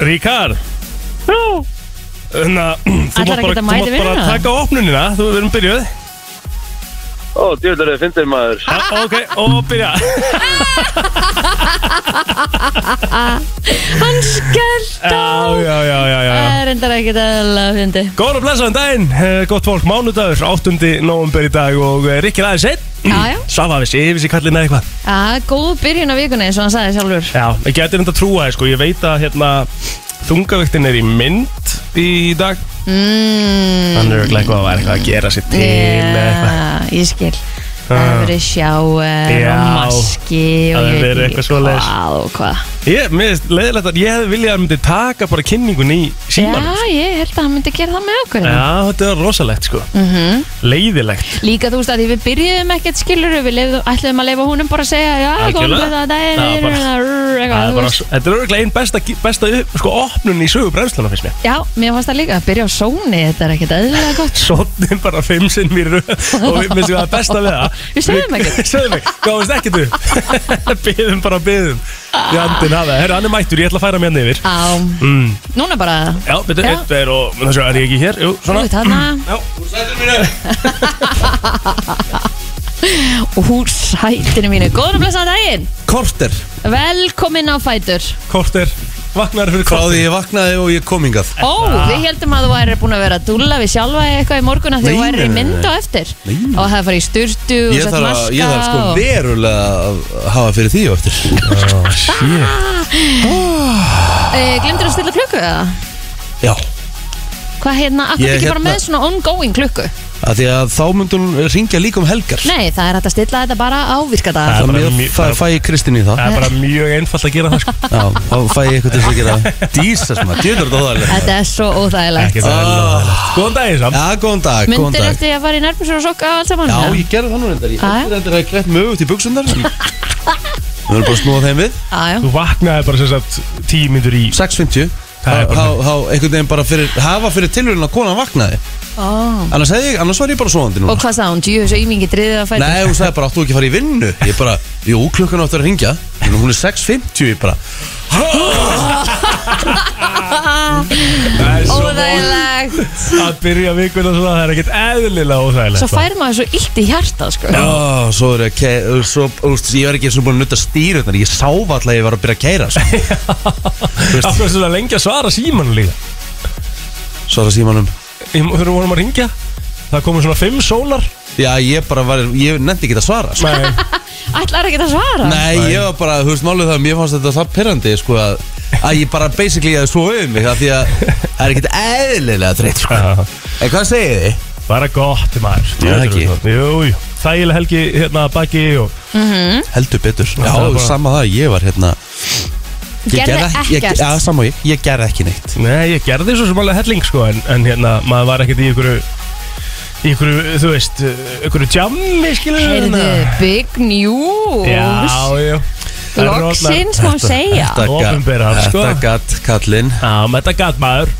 Ríkard Nú, Þannig að þú mátt bara, þú Ætlarðu ekki að mæta mátt í bara vinnuna? taka opnunina Þú við erum byrjuð ó, djúðlar þið fyndir maður Ah, Ok, og byrja Hann skellt á Já, já, já, já, já. Það er reyndar ekkert eðlilega fyndi Góðan og blessaðan daginn, eh, gott fólk, mánudagur, 8. november í dag og eh, Rikki er aðeins einn. Já, já. Svafa við séu, við séu kallin eða eitthvað. Já, góð byrjun á vikunni eins og hann sagði sjálfur Já, ég geti reynda að trúa þér sko, ég veit að hérna þungavöktin er í mynd í dag. mm, Þannig er örugglega eitthvað að vera eitthvað að gera sér til eh, eða eitthvað. yeah, Ég skil Það hefur verið sjáur Já. og maski og Það hefur ég veit verið ekki eitthvað svoleiðis. Hvað og hvað Ég, mér finnst leiðilegt að ég hefði viljað að myndi taka bara kynningun í símanum. Já, sko. ég held að hann myndi gera það með okkur Mhm. Já, þetta er rosalegt sko. Mm Leiðilegt. Líka þú veist að því við byrjuðum ekkert skilur Við lefðum, ætluðum að leifa húnum bara að segja Já, góðum Algjörlega. við það, það er Það var bara- Það eitthvað, er þú bara, veist. þetta er örglega einn besta, besta sko, opnun í sögu brennsluna finnst mér. Já, mér fannst það líka að byrja á sóni Þetta er ekkert eðlilega gott sotnum bara fimm sinn mér og við minnstum að besta við það Við sögðum ekkert. Við sögðum ekkert, gáðumst ekkert upp Byðum bara byðum Jandinn hafa, herru hann er mættur, ég ætla að færa mér yfir Á, mm. núna bara Já, betur, Já. einn, tveir og þannig að er ég ekki hér, jú, Þú svona veit hana, Já, úr sætinu mínu úr sætinu mínu Góðan og blessaðan daginn Korter, Velkomin á Fætur Korter, vaknar fyrir frá því korter ég vaknaði og ég kom hingað Ó, við heldum að þú væri búin að vera að dúlla við sjálfa þig eitthvað í morgun af því þú Nei, væri í nei, nei, mynd nei. á eftir og það farið í sturtu og Ég sett þarf, að, maska ég þarf sko og- verulega að hafa fyrir því á eftir e, Glemdur að stilla klukku eða? Já, Hvað hérna, akkur Ég ekki bara hérna- með svona ongoing klukku? af því að þá myndi hún ringja líka um helgar Nei, það er hægt að stilla þetta bara á virkadagar Það er Þannig bara að mjög- það fæ ég Kristinn í það Það er bara mjög einfalt að gera það sko Já, þá fæ ég eitthvað til þess að gera Dísas maður, djöður þetta óðarlega Þetta er svo óþægilegt Ekki það er Ah. loðilegt Góðan daginn samt Já, góðan dag, góðan Myndir dag eftir að fara í nærbúsur og sokka og allt saman? Já, ég gerði það nú reyndar Ég Já, já. heldur reyndar að ég greitt mögut í buksundar Við verðum bara að snúa þeim við Já, já. Þú vaknaði bara sem sagt tíu myndur í 6.50 Há, Það er bara- há, há, einhvern veginn bara fyrir, hafa fyrir tilhörun að konan vaknaði Ó. annars, hefði ég, annars var ég bara svoandi núna Og hvað sagði hún? Jú, þessu ymingi driðið á fætur Nei, hún sagði bara, áttu ekki að fara í vinnu Ég bara, jú, klukkan áttu að ringja En hún er 6.50, ég bara Það er svo Óþægilegt að byrja vikuna svona Það er ekkert eðlilega óþægilegt sko. Svo fær maður svo illt í hjarta sko. Ó, svo er ég að kæra svo, úst, Ég var ekki svona búin að nutta stýrutnar Ég sá alltaf að ég var að byrja að kæra sko. Af hverju svona lengi að svara símanu líka Svo er það símanum Ég- Þegar við vorum að ringja Það komið svona fimm sólar Já, ég bara var, ég nefndi ekki að svara sko. Nei, Ætlar ekki að svara Nei, ég var bara, þú veist, málið það Mér fannst þetta það perrandi, sko að, að ég bara basically að svo um mig af Því að það er ekkert eðlilega þreytt sko. Já. En hvað segið þið? bara gott maður Já, ekki. Jú, jú, þægileg helgi hérna að baki og Heldur betur Já, Það er bara- sama það, ég var hérna ég Gerði ekki- ég- ekkert. Já, sama og ég, ég gerði ekki neitt Nei, ég gerði svo sem alveg helling sko En, en hérna, maður var ekkert í ykkur Í ykkur, þú veist, ykkur jammi skilur Heyrðu, hérna. big news Já, já Loksins má segja Þetta gat- Opinberar, sko. Þetta gatt kallinn Já, með þetta gat maður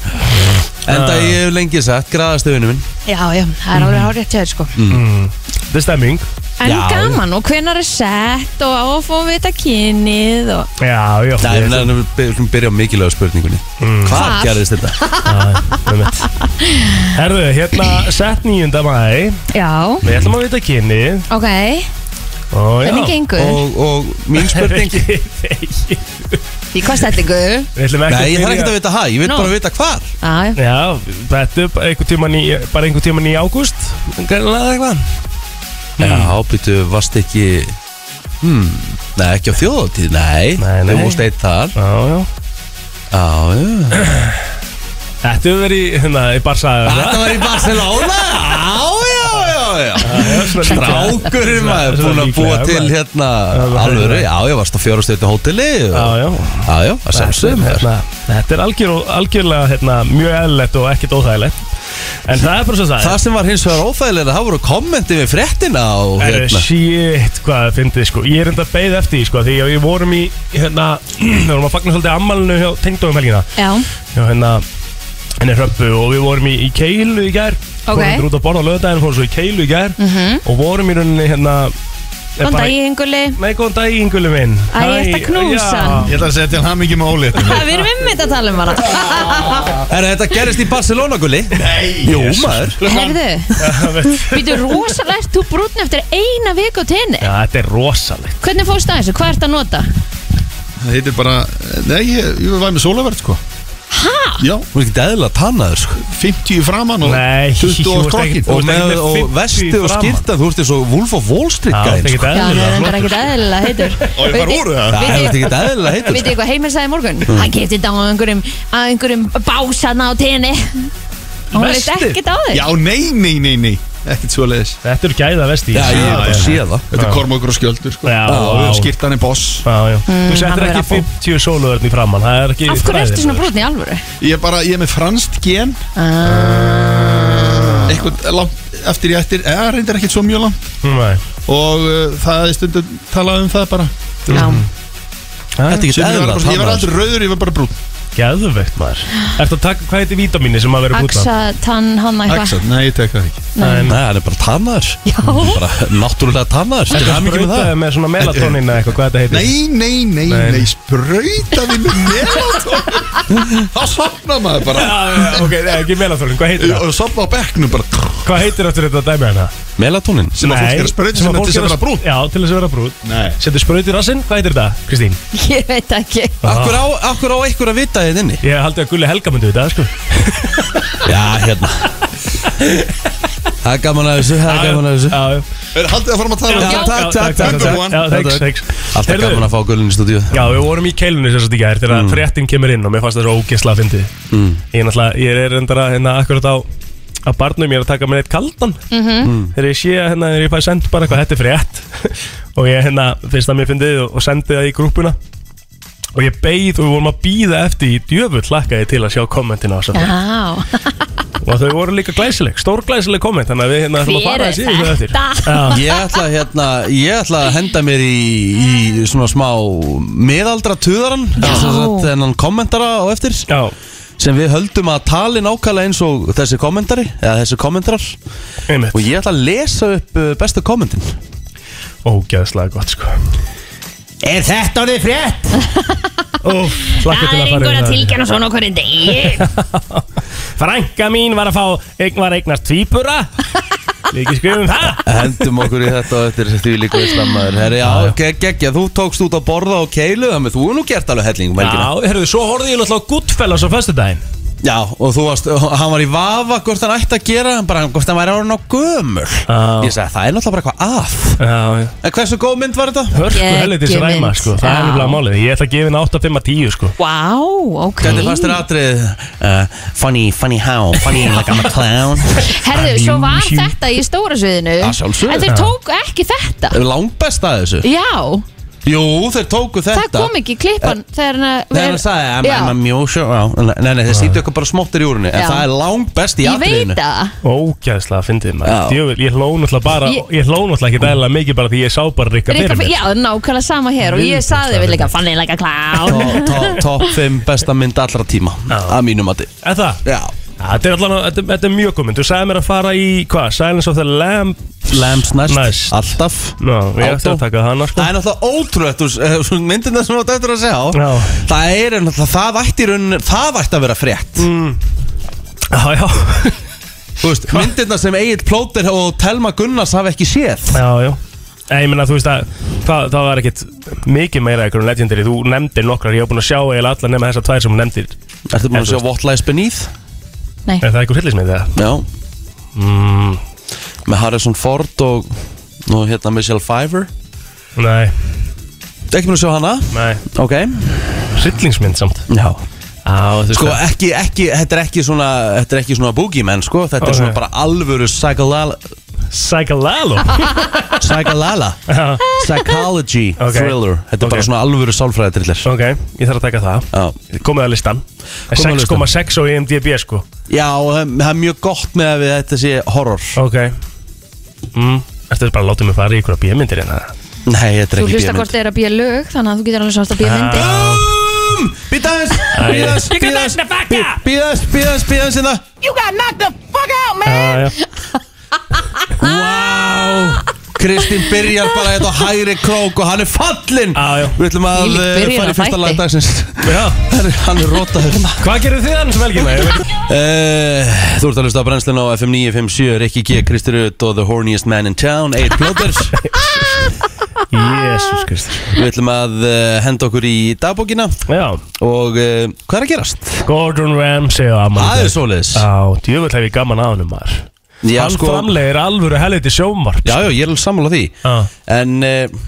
Enda ég hef lengi sagt, graðastu vinnu minn Já, já, það er alveg hárið tjáður sko Þetta er stemming En Mm. Já. gaman, og hvenar er sett og á að fá við þetta kynnið og... Já, já Nei, ég- Mm. við erum byrjum að byrja á mikilvæg spurningunni Hvað Hvar? gerðist þetta? einmitt. Herðu, hérna, sett nýjunda mæ Já, Við ætlum að vita kynni ok, Ó, já hvernig gengur? Og, og mín spurning Ekki, ekki. Í hvað stættingu? Við ætlum ekki Nei, að ég þarf byrja- ekki að vita hæ, ég vil Nú. bara vita hvar Já, já. Já, þetta er bara einhver tíman í, bara einhver tíman í ágúst Greinlega eða eitthvað Hmm. Já, býttu, varst ekki hmm, Nei, ekki á þjóðatíð, nei Nei, nei. Þú múst eitt þar Já, já Já, já Þetta hefur verið í, hérna, í Barsa Þetta var í Barcelona Já, já, já, já Ah, Strákurinn maður búin að búa til hérna Já, alvöru, já, ég varst á fjórasteytnu hóteli og- Já, já já, já, að sjálfsögum Þetta er, hérna, Þetta er algjör, algjörlega hérna, mjög eðlilegt og ekkert óþægilegt En það er bara svo það Það sem var hins vegar óþægilega, það voru kommenti við fréttina og er hérna shit hvað það fyndið sko Ég er enda að beið eftir því sko Því að við vorum í hérna Við vorum að fagna svolítið ammalinu hjá tengdófum helgina Já, Já, hérna henni hröppu og við vorum í, í keilu í gær Ok. Mhm. Fórum við út að borða á löðdæðin, fórum svo í keilu í gær Og vorum í rauninni hérna Góðan dag, Inguli Nei, góðan dag, Ingulum minn Æ, ertu að knúsa hann? Ég ætla að segja til hann mikið með óléttum Við erum einmitt að tala um hana Herra, þetta gerist í Barcelona, gulli Nei Jú, maður Herðu, hann býtu rosalegt Þú brútn eftir eina viku á tenni Já, þetta er rosalegt Hvernig fórst það þessu? Hvað ert að nota? Það heitir bara, nei, ég, ég var með sólaverð sko Hæ? Já, Þú er ekki eðla tannaður, sko 50 í framann og Nei, 20 þú og ert krokkin ekkert- Og, með, ekki með og 50 vesti og framan. skýrta, þú ert eins og Wolf of Wall Street Já, gæðin, þetta er sko ekki Já, það eðlilega er endar ekkert eðlilega heitur Og ég fara úr það Það er þetta ekki Hmm. eðla heitur, sko. Vitið hvað Heimir sagði í morgun? Hann kefti þetta á einhverjum, á einhverjum básanna á tenni Og hann leist Vestir? ekkert á þig Já, nei, nei, nei, nei Ekkert svo leiðis Þetta er gæða vesti Já, ég er bara að sé það Þetta er kormokur og skjöldur sko Já, Og já. skýrtan er boss Já, já. Þú Mm, hann settir verður ekki að fá. 50 sóluverðin í framann Það er ekki Af hverju ertu svona fræðilegur. brotni í alvöru? Ég er bara, ég er með franskt gen Eitthvað langt eftir ég eftir eða reyndir ekkert svo mjög langt Nei. Og uh, það er stundum talað um það bara Já, Þetta er ekki Sumir eðla verða bara- Ég sko. var aldrei rauður, ég var bara brún Gæðvegt maður Ertu að taka, hvað heitir vítamíni sem maður verið búin Axa, tann, hann eitthvað Axel, nei, ég tek það ekki Nei, hann er bara tannaður Já. Bara náttúrulega tannaður Þetta Þetta er er hann með það sprautaði með svona melatonin eða eitthvað, hvað þetta heitir Nei, nei, nei, Nei. nei, nei sprautaði með melatonin Þá sopna maður bara Já, já, já, Ok, nei, ekki melatonin, hvað heitir það? Og sopna á bekknum bara Hvað heitir eftir þetta dæmi hérna? hana? Melatonin Sem að fólk er að sprauta sem að til þess að vera brún Já, til þess að vera brún Nei Setur spraut í rassinn, hvað heitir þetta, Kristín? Ég veit ekki Akkur á, akkur á ykkur að vita þið inni Ég haldi að Gulli Helga myndi þetta, sko Já, hérna Það er gaman að þessu, það er gaman að þessu Já, já. Haldið að fara að tala um Já, það takk, takk, takk, takk. takk Já, thanks, Takk. thanks Alltaf Heyrðu, gaman að fá gullin í stúdíu Já, við vorum í keilunni sem sagt í gær þegar mm. fréttin kemur inn og mér fannst það svo ógeðslega að fyndið. Mm. Ég er náttúrulega, ég er endara hérna akkurat á að barnum, ég er að taka mér eitt kaldan Mhm. Mm. þegar ég sé að hérna, þegar ég fæði send bara eitthvað, þetta er frétt og ég hérna, fyrst að mér fyndið og, og sendið það í grúpuna og ég beið og við vorum að býða eftir í djöfull lakkaði til að sjá kommentina á þessu Já, og þau voru líka glæsileg, stór glæsileg komment þannig að við hérna ætlum að Hver fara er þessi í þau eftir þetta? Já, Ég ætla, að, hérna, ég ætla að henda mér í, í svona smá meðaldra tuðaran þennan kommentara á eftir já, sem við höldum að tali nákvæmlega eins og þessi kommentari eða þessi kommentarar einmitt og ég ætla að lesa upp uh, bestu kommentin Ógeðslega gott sko Er þetta orðið frétt? Úf, hlakka til að það er fara einhver yfir að það. tilgjana svona okkur en degi Frænka mín var að fá eign, var að eignast tvípura Líki skrifum um það Hendum okkur í þetta og eftir því líka islammaður Herri, já, gegg, gegg, þú tókst út að borða og keilu þannig að þú er nú gert alveg um hellingum Já, herruðu, svo horfði ég náttúrulega á Goodfellas á föstudaginn já, og þú varst, og hann var í vafa hvort hann ætti að gera, hann bara hvort hann væri orðin á gömur Já. Ég sagði, það er náttúrulega bara eitthvað að Já, En hversu góð mynd var þetta? hörku Geggjum helvitis ræma mynd. sko Það er Já. nefnilega málið, ég ætla að gefa henni 8, 5, 10 sko Vá, ok Hvernig fannst þér atrið? Uh, funny, funny how? Funny like I'm a clown Herðu, svo var Unusual. þetta í stóra sviðinu Að sjálfsögðu. En þeir tóku ekki þetta Langbest að þessu Já, Jú, þeir tóku þetta það kom ekki klippan Þegar hann að- Þegar hann sagði I'm, Já. I'm a mjósjó Nei, nei, þeir sýttu eitthvað bara smóttir í úrunni En Já. það er langbest í Ég atriðinu veit það Ógæðslega fyndið maður Já. Djöfull, Ég hló náttúrulega bara Ég- Ég hló náttúrulega ekki dæla mikið bara því ég sá bara Rikka Rikka, fyrir mér já, nákvæmlega sama hér og ég Viðbjóðslega saði við fyndið. líka Fanny like a clown Top- top- Top 5 besta mynd allra tíma Já. Að mínum mati Er það? Já Þetta er allan, þetta, þetta er mjög komund Þú sagði mér að fara í, hvað, Silence of the Lamb Lambs næst Næst. Alltaf Ná, ég ætti Auto. að taka hana sko Það er náttúrulega ótrúlegt úr, eh, svona Myndina sem þú átt eftir að segja á Já. Það er náttúrulega Það ætti í rauninni Það ætti að vera frétt Mm. Já, já, Þú veist Myndina sem Egil Plóter og Telma Gunnars hafa ekki séð já, já Nei, ég meina, þú veist að það, það var ekkit mikið meira eitthvað um legendary Þú nefndir nokkrar, ég hef búin að sjá eiginlega allar nema þessar tvær sem hún nefndir Ertu En búin að þú sjá What Lies Beneath? Nei, Er það eitthvað hryllismið það? Já Mm, Með Harrison Ford og Og hérna Michelle Pfeiffer nei, Ekki búin að sjá hana? nei, Ok hryllingsmynd samt Já Já, þú veist Sko ekki, ekki, þetta er ekki svona Þetta er ekki svona boogeyman sko Þetta Ok. er svona bara alvöru psycholala Psycholalo Psycholala Psychology Ok. thriller Þetta er Ok. bara svona alvöru sálfræði thriller Ok, ég þarf að taka það Já, Komið að listan Komið á 6,6 á IMDB sko Já og það það er mjög gott með að við þetta sé horror Ok mm, Ertu bara að láta mig fara í ykkur að bíðmyndir hérna? Nei, þetta er þú ekki hlusta hvort þeir eru að býja lög Þannig að þú getur alveg svona Ah, að býja myndi Býta aðeins, býta aðeins, You got býta knocked the fuck out. aðeins Býta aðeins, býta aðeins, býta aðeins hérna. Já, já Kristín byrjar bara hérna á hægri krók og hann er fallinn Já, já. Við ætlum að Þvílík eh, byrjun á fara í fyrsta þætti. lag dagsins Já. Hann er- Hann er rótaður Hvað gerðu þið annars um helgina? Ég veit- uh, Þú ert að hlusta á brennslun á FM 957 Rikki G, Kristi Rutt og The Horniest Man in Town Eitt Blóðers Jésús Kristur Við ætlum að uh, henda okkur í dagbókina Já, Og uh, hvað er að gerast? Gordon Ramsay á afmæli Það er svoleiðis Já, djöfull hef ég gaman að honum maður Já, Hann sko- framlegir alvöru helviti sjómar Já, já, ég er alveg sammála því Já. En uh,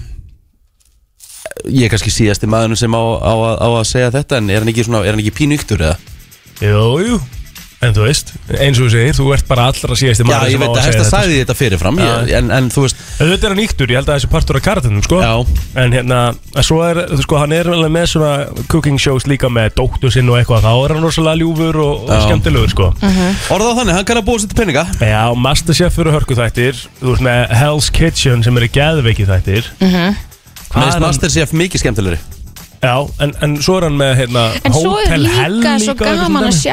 Ég er kannski síðasti maðurinn sem á, á, að- á að segja þetta En er hann ekki, svona, er hann ekki pínu yktur eða? Jú, jú En þú veist, eins og þú segir, þú ert bara allra síðasti Já, maður ég sem á veit að að segja þetta. þetta sko. sagði ég þetta fyrirfram ég, en, en þú veist, Þetta er hann íktur, ég held að þessi partur af karatunum sko. Já. En hérna, en svo er þú sko, hann er alveg með svona cooking shows líka með dóttu sinn og eitthvað, þá er hann rosalega ljúfur og, og Já. skemmtilegur sko. orðað þannig, hann kann að búa sér til peninga Já, Masterchef eru hörkuþættir Þú veist með Hell's Kitchen sem eru geðveiki þættir Hvað er Meðist hann- Masterchef mikið skemmtilegri Já, en, en svo er hann með hérna, En svo er Hotel Hell líka svo og eitthvað gaman að svona.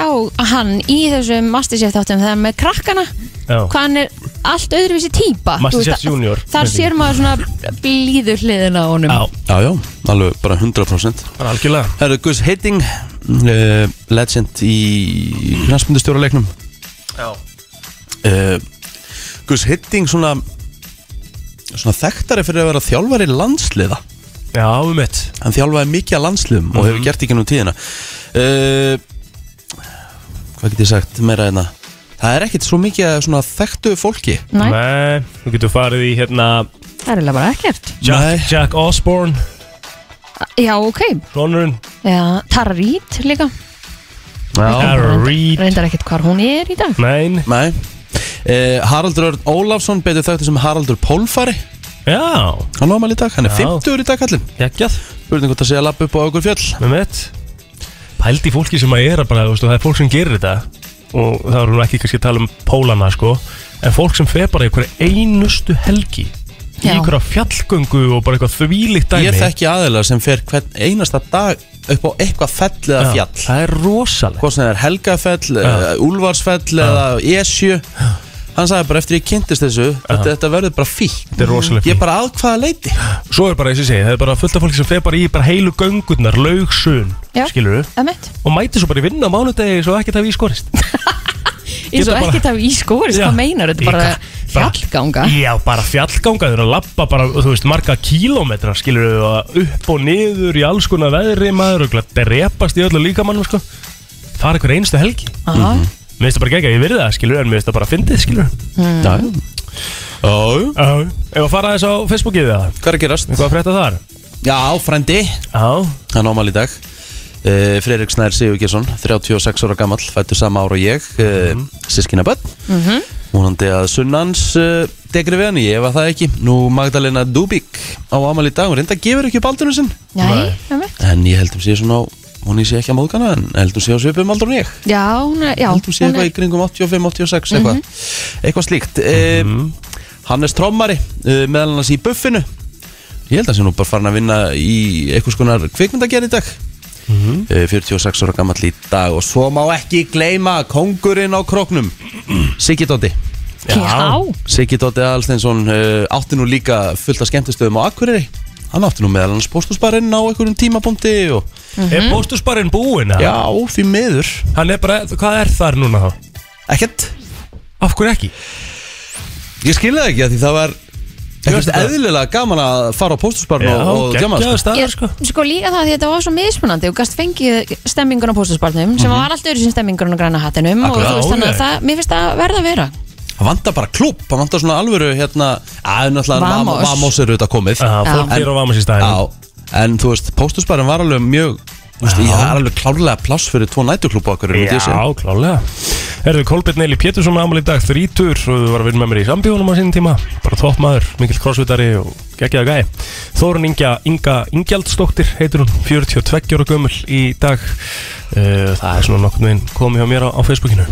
sjá hann í þessum Masterchef þáttum þegar með krakkana Já. hvað hann er allt öðruvísi típa þú Masterchef veist, að- Junior, Þar myndi ég. sér maður svona blíðu hliðin á honum Já, Já, já, alveg bara 100% bara algjörlega Herru, Gus Hitting uh, Legend í knastmyndustjóra leiknum Já. uh, Gus Hitting svona svona þekktari fyrir að vera þjálfari landsliða Já, um mitt hann þjálfaði mikið að landsliðum og Mhm. hefur gert ekki nú tíðina uh, hvað get ég sagt meira hérna það er ekkert svo mikið af svona þekktu fólki Nei, Nei, þú getur farið í hérna það er eiginlega bara ekkert Nei. Jack, Jack Osborne, Já, ok, sonurinn Já, Tara Reid líka Tara Reid Reyndar ekkert hvar hún er í dag Nein, Nei Uh, Haraldur Örn Ólafsson betur þekktu sem Haraldur Pólfari já, hann ámæli í dag, hann er Já. 50 í dag kallinn geggjað spurning hvort að segja lapp upp á okkur fjöll Um mitt Pældi fólki sem að er að bara, þú veist, og það er fólk sem gerir þetta og það erum við ekki kannski að tala um pólana sko, en fólk sem fer bara í einhverja einustu helgi í Já. einhverja fjallgöngu og bara eitthvað þvílíkt dæmi ég þekki aðeila sem fer hvern einasta dag upp á eitthvað fell eða Já, fjall Það er rosalega hvort sem það er Helgafell, ja. Úlfarsfell eða Esju hann sagði bara eftir ég kynntist þessu þetta, þetta verður bara fíkn Þetta er rosalega ég fínt. bara að hvaða leiti Svo er bara, eins og ég segi, það er bara fullt af fólki sem fer bara í bara heilu göngurnar, laugsun, Já. skilur Emmett og mæti svo bara í vinna á mánudegi svo ekkert hafi í skorist Ég svo Geta bara- ekkert af ískóris, Já. hvað meinar þetta Ég bara kann- bara- fjallganga Já, bara fjallganga, þeir eru að lappa bara, þú veist, marga kílómetra, skilur við, og upp og niður í alls konar veðri, maður, og glætt repast í öllu líkamannum, sko. Það er einhver einstu helgi. Aha. Mér finnst það bara gegga, ég virði það, skilur, en mér finnst það bara fyndið, skilur. já, já Já. Ef að fara þess á Facebookið það, hvað er að gerast? eitthvað að frétta þar? já, frændi Já. hann ámali í dag uh, Freirik Snær Sigurgesson 36 ára gamall, fættu sama ára og ég uh, Mhm. mm. sískina bönn mm Mhm. að sunnans uh, degri við hann, ég ef að það ekki nú Magdalena Dubík á ámali í dag hún reynda gefur ekki upp aldurinn sinn Nei, Emmett en ég heldum sé svona á hún ég sé ekki að móðgana en heldum sé á svipum aldur en ég Já, hún er, já heldum hún sé eitthvað er- Mhm. í kringum 85-86 eitthvað eitthvað slíkt um, Hannes Trommari uh, meðal annars í buffinu ég held að sé nú bara farin að vinna í eitthvað skonar kvikmyndagerð í dag uh, 46 ára gammal í dag og svo má ekki gleyma kongurinn á króknum Siggi Dóti Já, Siggi Dóti Aðalsteinsson uh, átti nú líka fullt af skemmtistöðum á Akureyri hann átti nú meðal annars postusbarinn á einhverjum tímabundi og Er póstusbarinn búinn, eða? já, því miður Hann er bara, hvað er þar núna þá? ekkert Af hverju ekki? Ég skilði það ekki að því það var veist ekkert þetta. eðlilega gaman að fara á póstusbarn og, og djama geggjaður sko. staður, Ég, sko. sko líka það því þetta var svo mismunandi og gast fengið stemmingun á póstusbarnum sem var alltaf öðru sem stemmingun á græna hattinum og Akkurat, þú já, veist þannig ok. að það, mér finnst það verða að vera Það vantar bara klúpp, það vantar svona alvöru hérna að náttúrulega Vamos. Vamos, Vamos eru þetta komið Já, fólk Já. fyrir á vamas í Já, staðinu. en þú veist, póstusbarn var alveg mjög Þú veist, ég það er alveg klárlega pláss fyrir tvo nætuklúpp okkur myndi ég segja. Já, klálega Herðu, Kolbjörn Eili Pétursson ámali í dag þrítur og þú var að vinna með mér í sambjónum á sínum tíma bara topp maður, mikill crossfitari og geggjaða gæi Þórun Inga, Inga Ingjaldsdóttir heitur hún, 42 ára gömul í dag Uh, Það er svona nokkurn veginn komið hjá mér á, á Facebookinu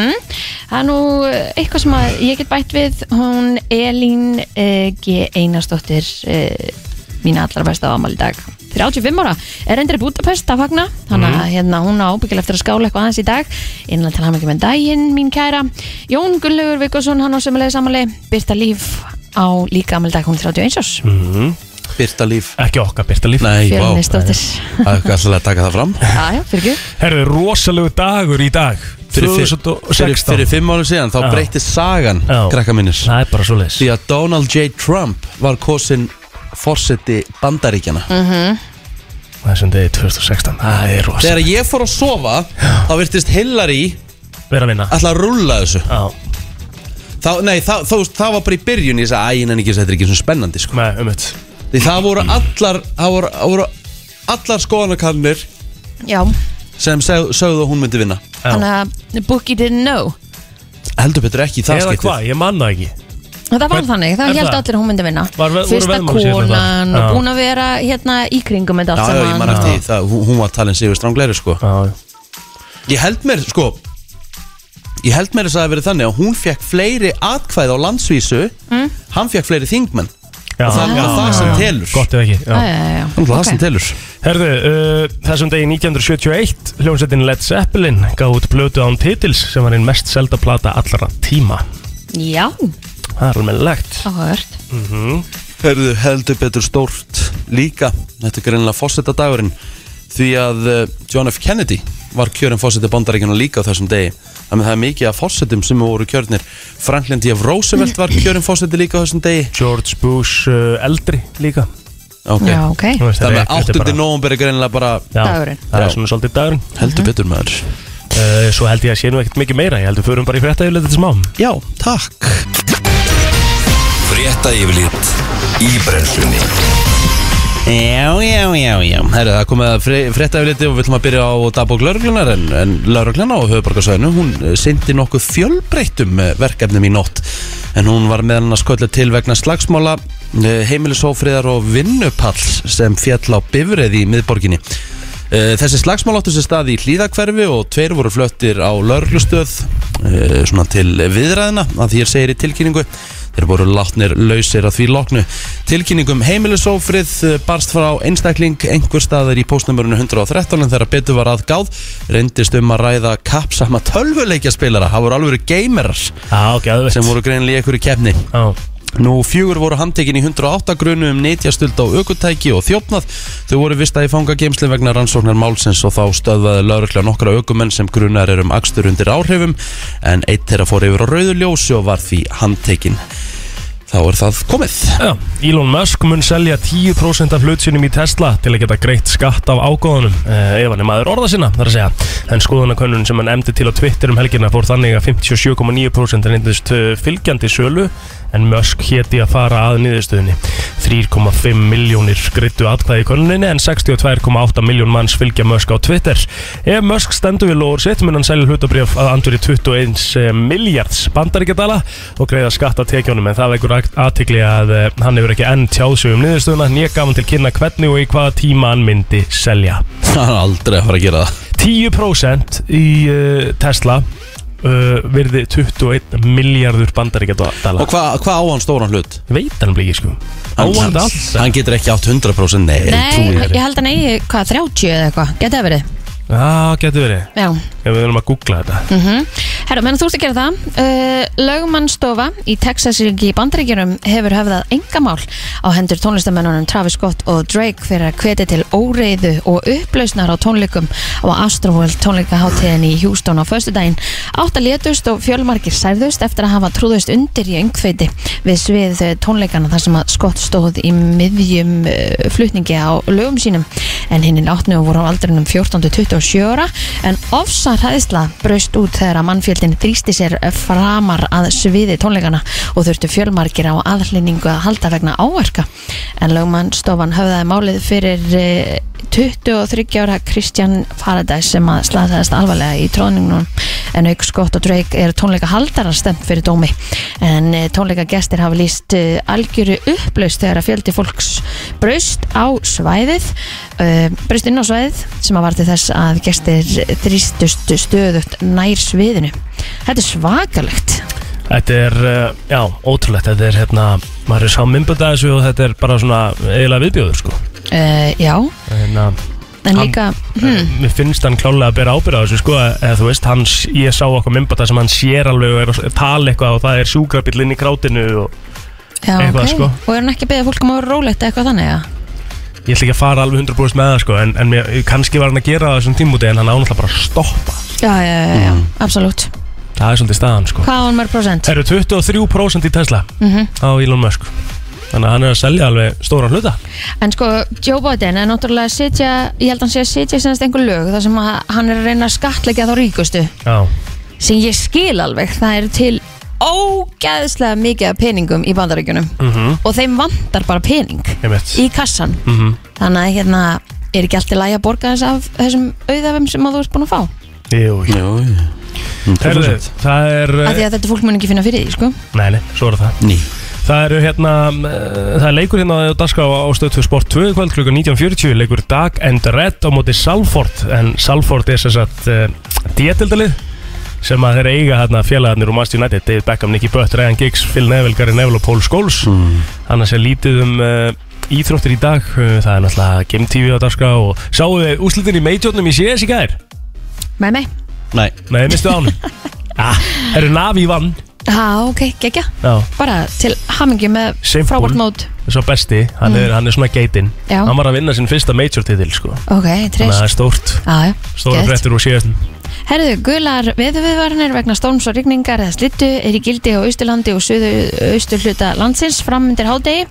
Það er nú eh, eitthvað sem að ég get bætt við hún Elín eh, G. Einarsdóttir eh, mín allra besta á amal í dag 35 ára, er endur í Budapest að fagna þannig að hérna hún á ábyggilega eftir að skála eitthvað aðeins í dag, innlega til hann ekki með daginn mín kæra, Jón Gullaugur Vikkosson hann á semulega samali, Birta Líf á líka amal dag hún 31 árs Byrta líf Mhm. Ekki okkar Birta Líf Mm. Nei, vá Fjölnisdóttir Það er alltaf að taka það fram Já, já, fyrir ekki Herðu, rosalegu dagur í dag Fyrir, fyrir, 2016 fyrir fimm árum síðan þá Já. breytist sagan Já. krakka minnir Það er bara svo leis því að Donald J. Trump var kosin forseti bandaríkjana Þessum degi 2016 Það er rosalegu þegar ég fór að sofa þá virtist Hillary Verða að vinna alltaf að rulla þessu Já, þá, nei, þá, þá, þá var bara í byrjun ég sagði, æ, ég nenni ekki, þessu, þetta er ekki svona spennandi sko. með um eitt því það voru allar það voru, það voru allar skoðanakannir Já, sem sög, sögðu að hún myndi vinna þannig að Bookie didn't know heldur betur ekki í það Eða skiptið hvað, ég manna ekki Og það var Hvern- þannig, er það held það? allir að hún myndi vinna Var ve- voru Fyrsta veðmáli síðan það? konan Já. og búin að vera hérna í kringum þetta Já, allt já, ég man saman eftir því, það, hún- hún var talin sigur strangleiri sko. Já, Ég held mér, sko Ég held mér þess að það hafi verið þannig að hún fekk fleiri atkvæð á landsvísu Hann fekk fleiri þingmenn já Og það er það sem telur Gott eða ekki Já, já. já, já, já. Það er það sem Ok. telur Herðu, uh, þessum degi 1971 Hljómsveitin Led Zeppelin gaf út blötu án titils sem var einn mest selda plata allra tíma Já, Það er alveg legt áhört Hörðu, heldur betur stórt líka Þetta er greinlega fósettadagurinn Því að eh, John F. Kennedy var kjörinn fósetti bandaríkjana líka á þessum degi Þannig að það er mikið af fósettum sem voru kjörnir Franklin D. F. Roosevelt var kjörinn fósetti líka á þessum degi George Bush uh, eldri líka okay. Já, ok Þú veist, Þannig þetta er- þetta að er 8. bara- Mhm. november er greinlega bara Já, Dagurinn. Það er Já. svona svolítið dagurinn heldur betur maður uh, Svo held ég að sé nú ekkert mikið meira Ég held við förum bara í frétta yfir þetta smá Já, takk Frétta yfirlit í brennslunni Já, já, já, já Herra, það er komið að fre frétta yfirliti og við ætlum að byrja á dagbók lauruglunar en, en lauruglan á höfuborgarsvæðinu hún sindi nokkuð fjölbreyttum eh, verkefnum í nótt en hún var meðan að sköllu til vegna slagsmála eh, heimilisófriðar og vinnupalls sem fjall á bifrið í miðborginni Eh, Þessi slagsmál áttu sér stað í hlýðakverfi og tveir voru flöttir á lauruglustöð eh, svona til viðræðina að því er segir í tilkynningu þeir voru látnir lausir að því loknu tilkynningum heimilisófrið eh, barst frá einstakling einhver staðar í postnumörunu 113 en þegar betur var að gáð reyndist um að ræða kappsama tölvuleikjaspilara, það voru alveg geimerar Já, ok, aðveit sem voru greinilega í einhverju keppni Nú fjögur voru handtekin í 108 grunu um neytjastuld á aukutæki og þjófnað. Þau voru vista í fangageimsli vegna rannsóknar málsins og þá stöðvaði lauruglega nokkra aukumenn sem grunar er um akstur undir áhrifum en eitt þeirra fór yfir á rauðu ljósi og var því handtekin. Þá er það komið. Já, Elon Musk mun selja 10% af hlutsinum í Tesla til að geta greitt skatt af ágóðunum eh, ef hann er maður orða sinna, þar að segja en skoðanakönnun sem hann emdi til á Twitter um helgina fór þannig að 57,9% reyndist eh, fylgjandi sölu en Musk héti að fara að niðurstöðunni 3,5 miljónir grittu atkvæði í könnuninni en 62,8 miljón manns fylgja Musk á Twitter Ef Musk stendur við lóður sitt mun hann selja hlutabrjöf að andur í 21 miljards eh, bandaríkjadala og greiða skatt af tekjónum en það vekur aðtikli að eh, hann hefur ekki enn tjáð sig um niðurstöðuna en ég gaf hann til kynna hvernig og í hvaða tíma hann myndi selja Það er aldrei að fara að gera það. 10% í uh, Tesla uh, virði 21 miljardur bandaríkjadala Og hvað hva á hann stóran hlut? Ég veit hann blíki sko Áan hann, þetta alls hann getur ekki átt 100% nei. Nei, trúi þér. ég held að ney, hvað, 30 eða eitthvað Getið að verið, Já, getur verið já Ef við verðum að googla þetta mm Herra, menn þú ert að gera það uh, Lögmannstofa í Texas ríki í Bandaríkjunum hefur höfðað engamál á hendur tónlistamennunum Travis Scott og Drake fyrir að hveti til óreiðu og upplausnar á tónleikum á Astroworld tónleikaháttíðin í Houston á föstudaginn. Átta létust og fjölmargir særðust eftir að hafa trúðust undir í öngfeiti við svið eh, tónleikana þar sem að Scott stóð í miðjum uh, flutningi á lögum sínum en hinn er átnu og voru á aldrinum 14-27 ára en ofsa hræðisla braust út þegar að mannfjöldin þrýsti sér framar að sviði tónleikana og þurftu fjölmargir á aðhlýningu að halda vegna áverka en lögmann stofan höfðaði málið fyrir eh, 23 ára Kristján Faradæs sem að slaðast alvarlega í tróningunum en auk Scott og Drake er tónleika haldarar stemt fyrir dómi en tónleika gestir hafa líst algjöru upplaust þegar að fjöldi fólks braust á svæðið eh, braust inn á svæðið sem að varti þess að gestir þrýstust stöðugt nær sviðinu þetta er svakalegt Þetta er, uh, já, ótrúlegt Þetta er hérna, maður er sá mymböndað þessu og þetta er bara svona eiginlega viðbjóður sko uh, já, Hérna, en Hann- líka hmm. mér finnst hann klálega að bera ábyrða þessu sko eða þú veist, hans, ég sá okkur mymböndað sem hann sér alveg og er að tala eitthvað og það er sjúkrabill inn í krátinu og Já, Eitthvað, ok. sko. Mm. Og er hann ekki að beða fólk um að vera rólegt eða eitthvað þannig, já? Ég ætla ekki að fara alveg 100% með það sko En, en mér, kannski var hann að gera það á þessum tímúti En hann ánáttúrulega bara að stoppa Já, já, já, já, absolutt. Það er svolítið staðan sko Hvað á hann mörg prosent? Það eru 23% í Tesla Á Elon Musk Þannig að hann er að selja alveg stóran hluta En sko, Joe Biden er náttúrulega að sitja, ég held að hann sé að sitja sinnast einhver lög þar sem að hann er að reyna að skattleggja þá ríkustu Já, sem ég skil alveg, það er til ógæðslega mikið af peningum í bandaríkjunum Mhm. og þeim vantar bara pening einmitt í kassan Mhm. þannig að hérna er ekki allt í lagi að borga þess af þessum auðafum sem að þú ert búin að fá Jú, jú Jó, Herðu, það er af því að þetta fólk mun ekki finna fyrir því sko Nei, nei, svo er það Ný Það eru hérna, eh, það er leikur hérna á dagskrá á stöðtöð Sport 2 í kvöld klukkan 19.40 leikur Dag and Red á móti Salford en Salford er sem sagt uh, dietildalið sem að þeir eiga hérna félagarnir úr Manchester United David Beckham, Nicky Butt, Ryan Giggs, Phil Neville, Gary Neville og Paul Scholes annars er lítið um uh, íþróttir í dag Eh, það er náttúrulega Game TV á dagskrá og sáu þið úslitin í meitjónum í CS í gær? með mig, Nei Nei, mistu ánum ah, Eru Navi vann ha ok, geggja Já, bara til hamingju með Simple. frábært mót svo besti, hann, er, hann er svona geitinn Mm. Já. hann var að vinna sinn fyrsta major titil sko. ok, Þannig að trist það er stórt Já, já, Stóra geðveikt. brettur úr síðast Herðu, gular veðuviðvarnir vegna storms og rigningar eða slittu er í gildi á Austurlandi og söðu austur hluta landsins framundir hádegi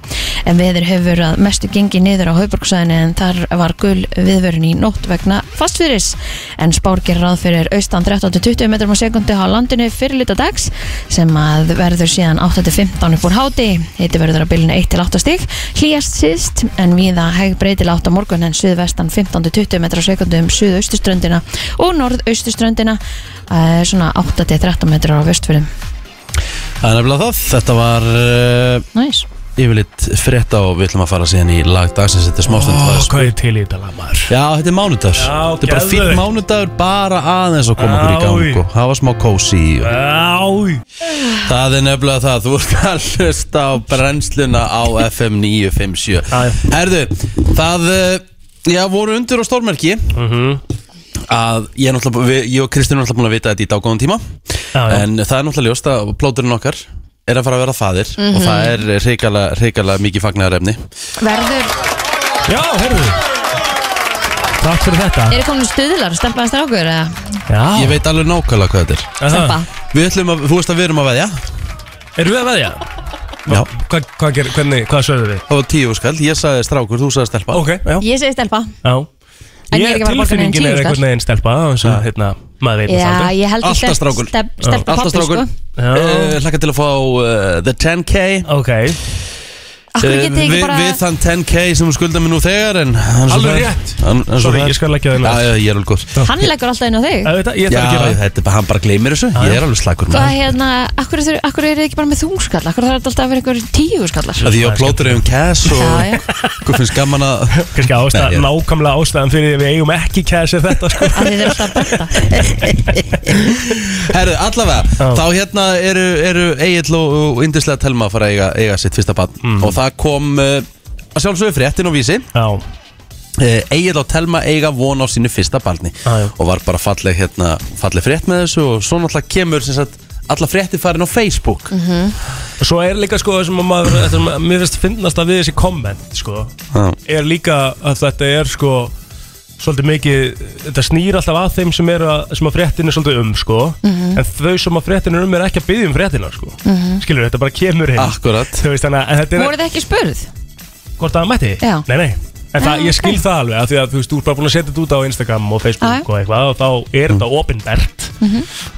en veður hefur að mestu gengi niður á hauborgsæðinu en þar var gul viðvörun í nótt vegna fastfyris en spár gerir ráð fyrir austan 13-20 metrum á sekundi á landinu fyrir hluta dags sem að verður síðan 8-15 upp úr hádegi heiti verður að bylna 1-8 stig hlýjast síðst en viða hæg breytil 8 á morgun en suðvestan 15-20 metrar á sekundu um suðaustuströndina og norðaustuströndina eh, svona 8-13 metrar á vestfjörðum Það er nefnilega það Þetta var uh, Næs yfirleitt frétta og við ætlum að fara síðan í lag dagsins Þetta er smástund oh, Hvað er til í þetta maður? Já, þetta er mánudagur Já, Þetta er bara fýtt geðveikt. mánudagur bara aðeins að koma okkur í Já, í. gang og hafa smá kósi og... Já, Það er nefnilega það, þú ert að hlusta á brennsluna á FM Já, 957 já. Herðu, það, eh, já, voru undur á stórmerki Mhm. að ég, er náttúrulega, við- ég og Kristján er náttúrulega búin að vita þetta í daggóðan tíma Já, já. En það er náttúrulega ljóst að plóturinn okkar er að fara að vera faðir Mhm. Og það er reikala, reikala mikið fagnaðarefni Verður, já, heyrðu Takk fyrir þetta eru komin stuðlar, stempaði strákur eða Já, Ég veit alveg nákvæmlega hvað þetta er Aha. stempa Við ætlum að, þú veist að við erum að veðja Erum við að veðja? Já Hva, hvað ger, hvernig, hvað sögðu við? Það var tíu skall, ég sagði strákur, þú sagði stelpa Ok, já, Ég segi stelpa já. En ég er ekki að fara að borga neinn Tilfinningin tíu er skall. einhvern veginn stelpa þannig að, hérna, maður veit það Já, aldrei. ég held Alltaf strákur. Stelpa Alltaf pappi sko strákur Já. uh, Laka til að fá uh, The 10K Ok, Akkur Eh, getið ekki við, bara við þann 10k sem við skulda mig nú þegar en hann er svo Alveg fær. rétt. hann, hann er svo Sorry, fær. ég skal leggja það inn á. Já, já, ég er alveg góð Hann leggur alltaf inn á þig Ég veit það, ég Já, þarf að gera það þetta er bara, hann bara gleymir þessu Ég er alveg slakur Hvað maður. hérna, akkur eru þið ekki bara með þungskall Akkur þarf þetta alltaf að vera einhver tíu skallar Af Því ég á plótur um cash og Já, já. hvað finnst gaman að Kannski ástæð, Nei, ég- nákvæmlega ástæðan fyrir því að við eigum ekki kæsir þetta sko. Af því þið er alltaf að brenda Herðu, allavega, Já. þá hérna eru, eru Egil og, og Indislega Telma að fara að eiga, eiga sitt fyrsta bann Mm. og það kom uh, að sjálfsögðu fréttin og vísi Já, Egil Eh, og Telma eiga von á sínu fyrsta barni Ah, Já, já. og var bara falleg, hérna, falleg frétt með þessu og svo náttúrulega kemur sem sagt alla fréttir farin á Facebook Mhm. Svo er líka sko það sem að maður, þetta sem að mér finnst finnast að við þessi komment sko, Já. er líka að þetta er sko svolítið mikið, þetta snýr alltaf að þeim sem, eru að, sem að fréttin er svolítið um sko, Mhm. en þau sem að fréttin er um er ekki að byggja um fréttina sko, skilur þetta bara kemur hinn, Akkurat þú veist þannig að en þetta er Voruð þið ekki spurð? hvort að það mætti, Já. nei nei En það, Já, ég skil ok. það alveg, af því að þú veist, þú ert bara búin að setja þetta út á Instagram og Já, Mhm. Facebook já. og eitthvað og þá er Mhm. þetta opinbert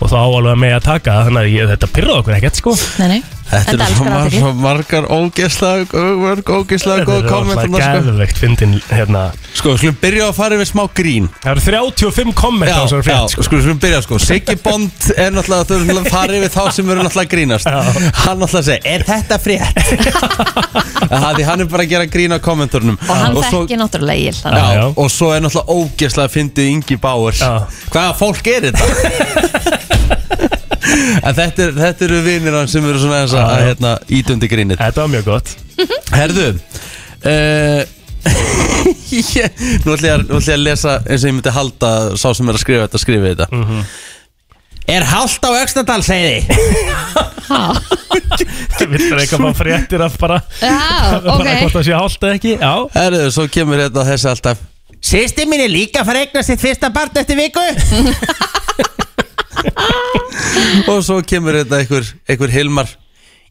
og þá á alveg með að taka það, þannig að ég, þetta pyrraði okkur ekkert, sko. Nei, nei Þetta er elskar svo, mar athygli. svo margar ógeðslega mörg ógeðslega góð kommentarna sko. gæðveikt fyndin hérna sko, við skulum byrja að fara yfir smá grín Það eru 35 komment á þessari frétt sko. við skulum byrja sko Siggi Bond er náttúrulega þau erum að fara yfir þá sem eru náttúrulega að grínast Hann náttúrulega segir, er þetta frétt? Það því hann er bara að gera grín á kommentarnum Og hann svo- þekki náttúrulega Egil þannig Já, já. Já, og svo er náttúrulega ógeðslega að fyndið Ingi Báers Já. Hvaða fólk er þetta? en þetta, er, þetta eru vinnir hans sem eru svona þess að Já, já. hérna, ítundi grínið Þetta var mjög gott Herðu uh, ég, Mhm. Nú ætlum ég, að- nú ætla ég að lesa eins og ég myndi halda sá sem er að skrifa þetta skrifa þetta Er hálft á Öxnadal, segi Við þurfum eitthvað bara fréttir af bara Já, bara hvort ok það sé hálft eða ekki Já, Herðu, svo kemur hérna þessi alltaf Sýsti mín er líka að fara að eignast sitt fyrsta barn eftir viku Og svo kemur hérna einhver, einhver Hilmar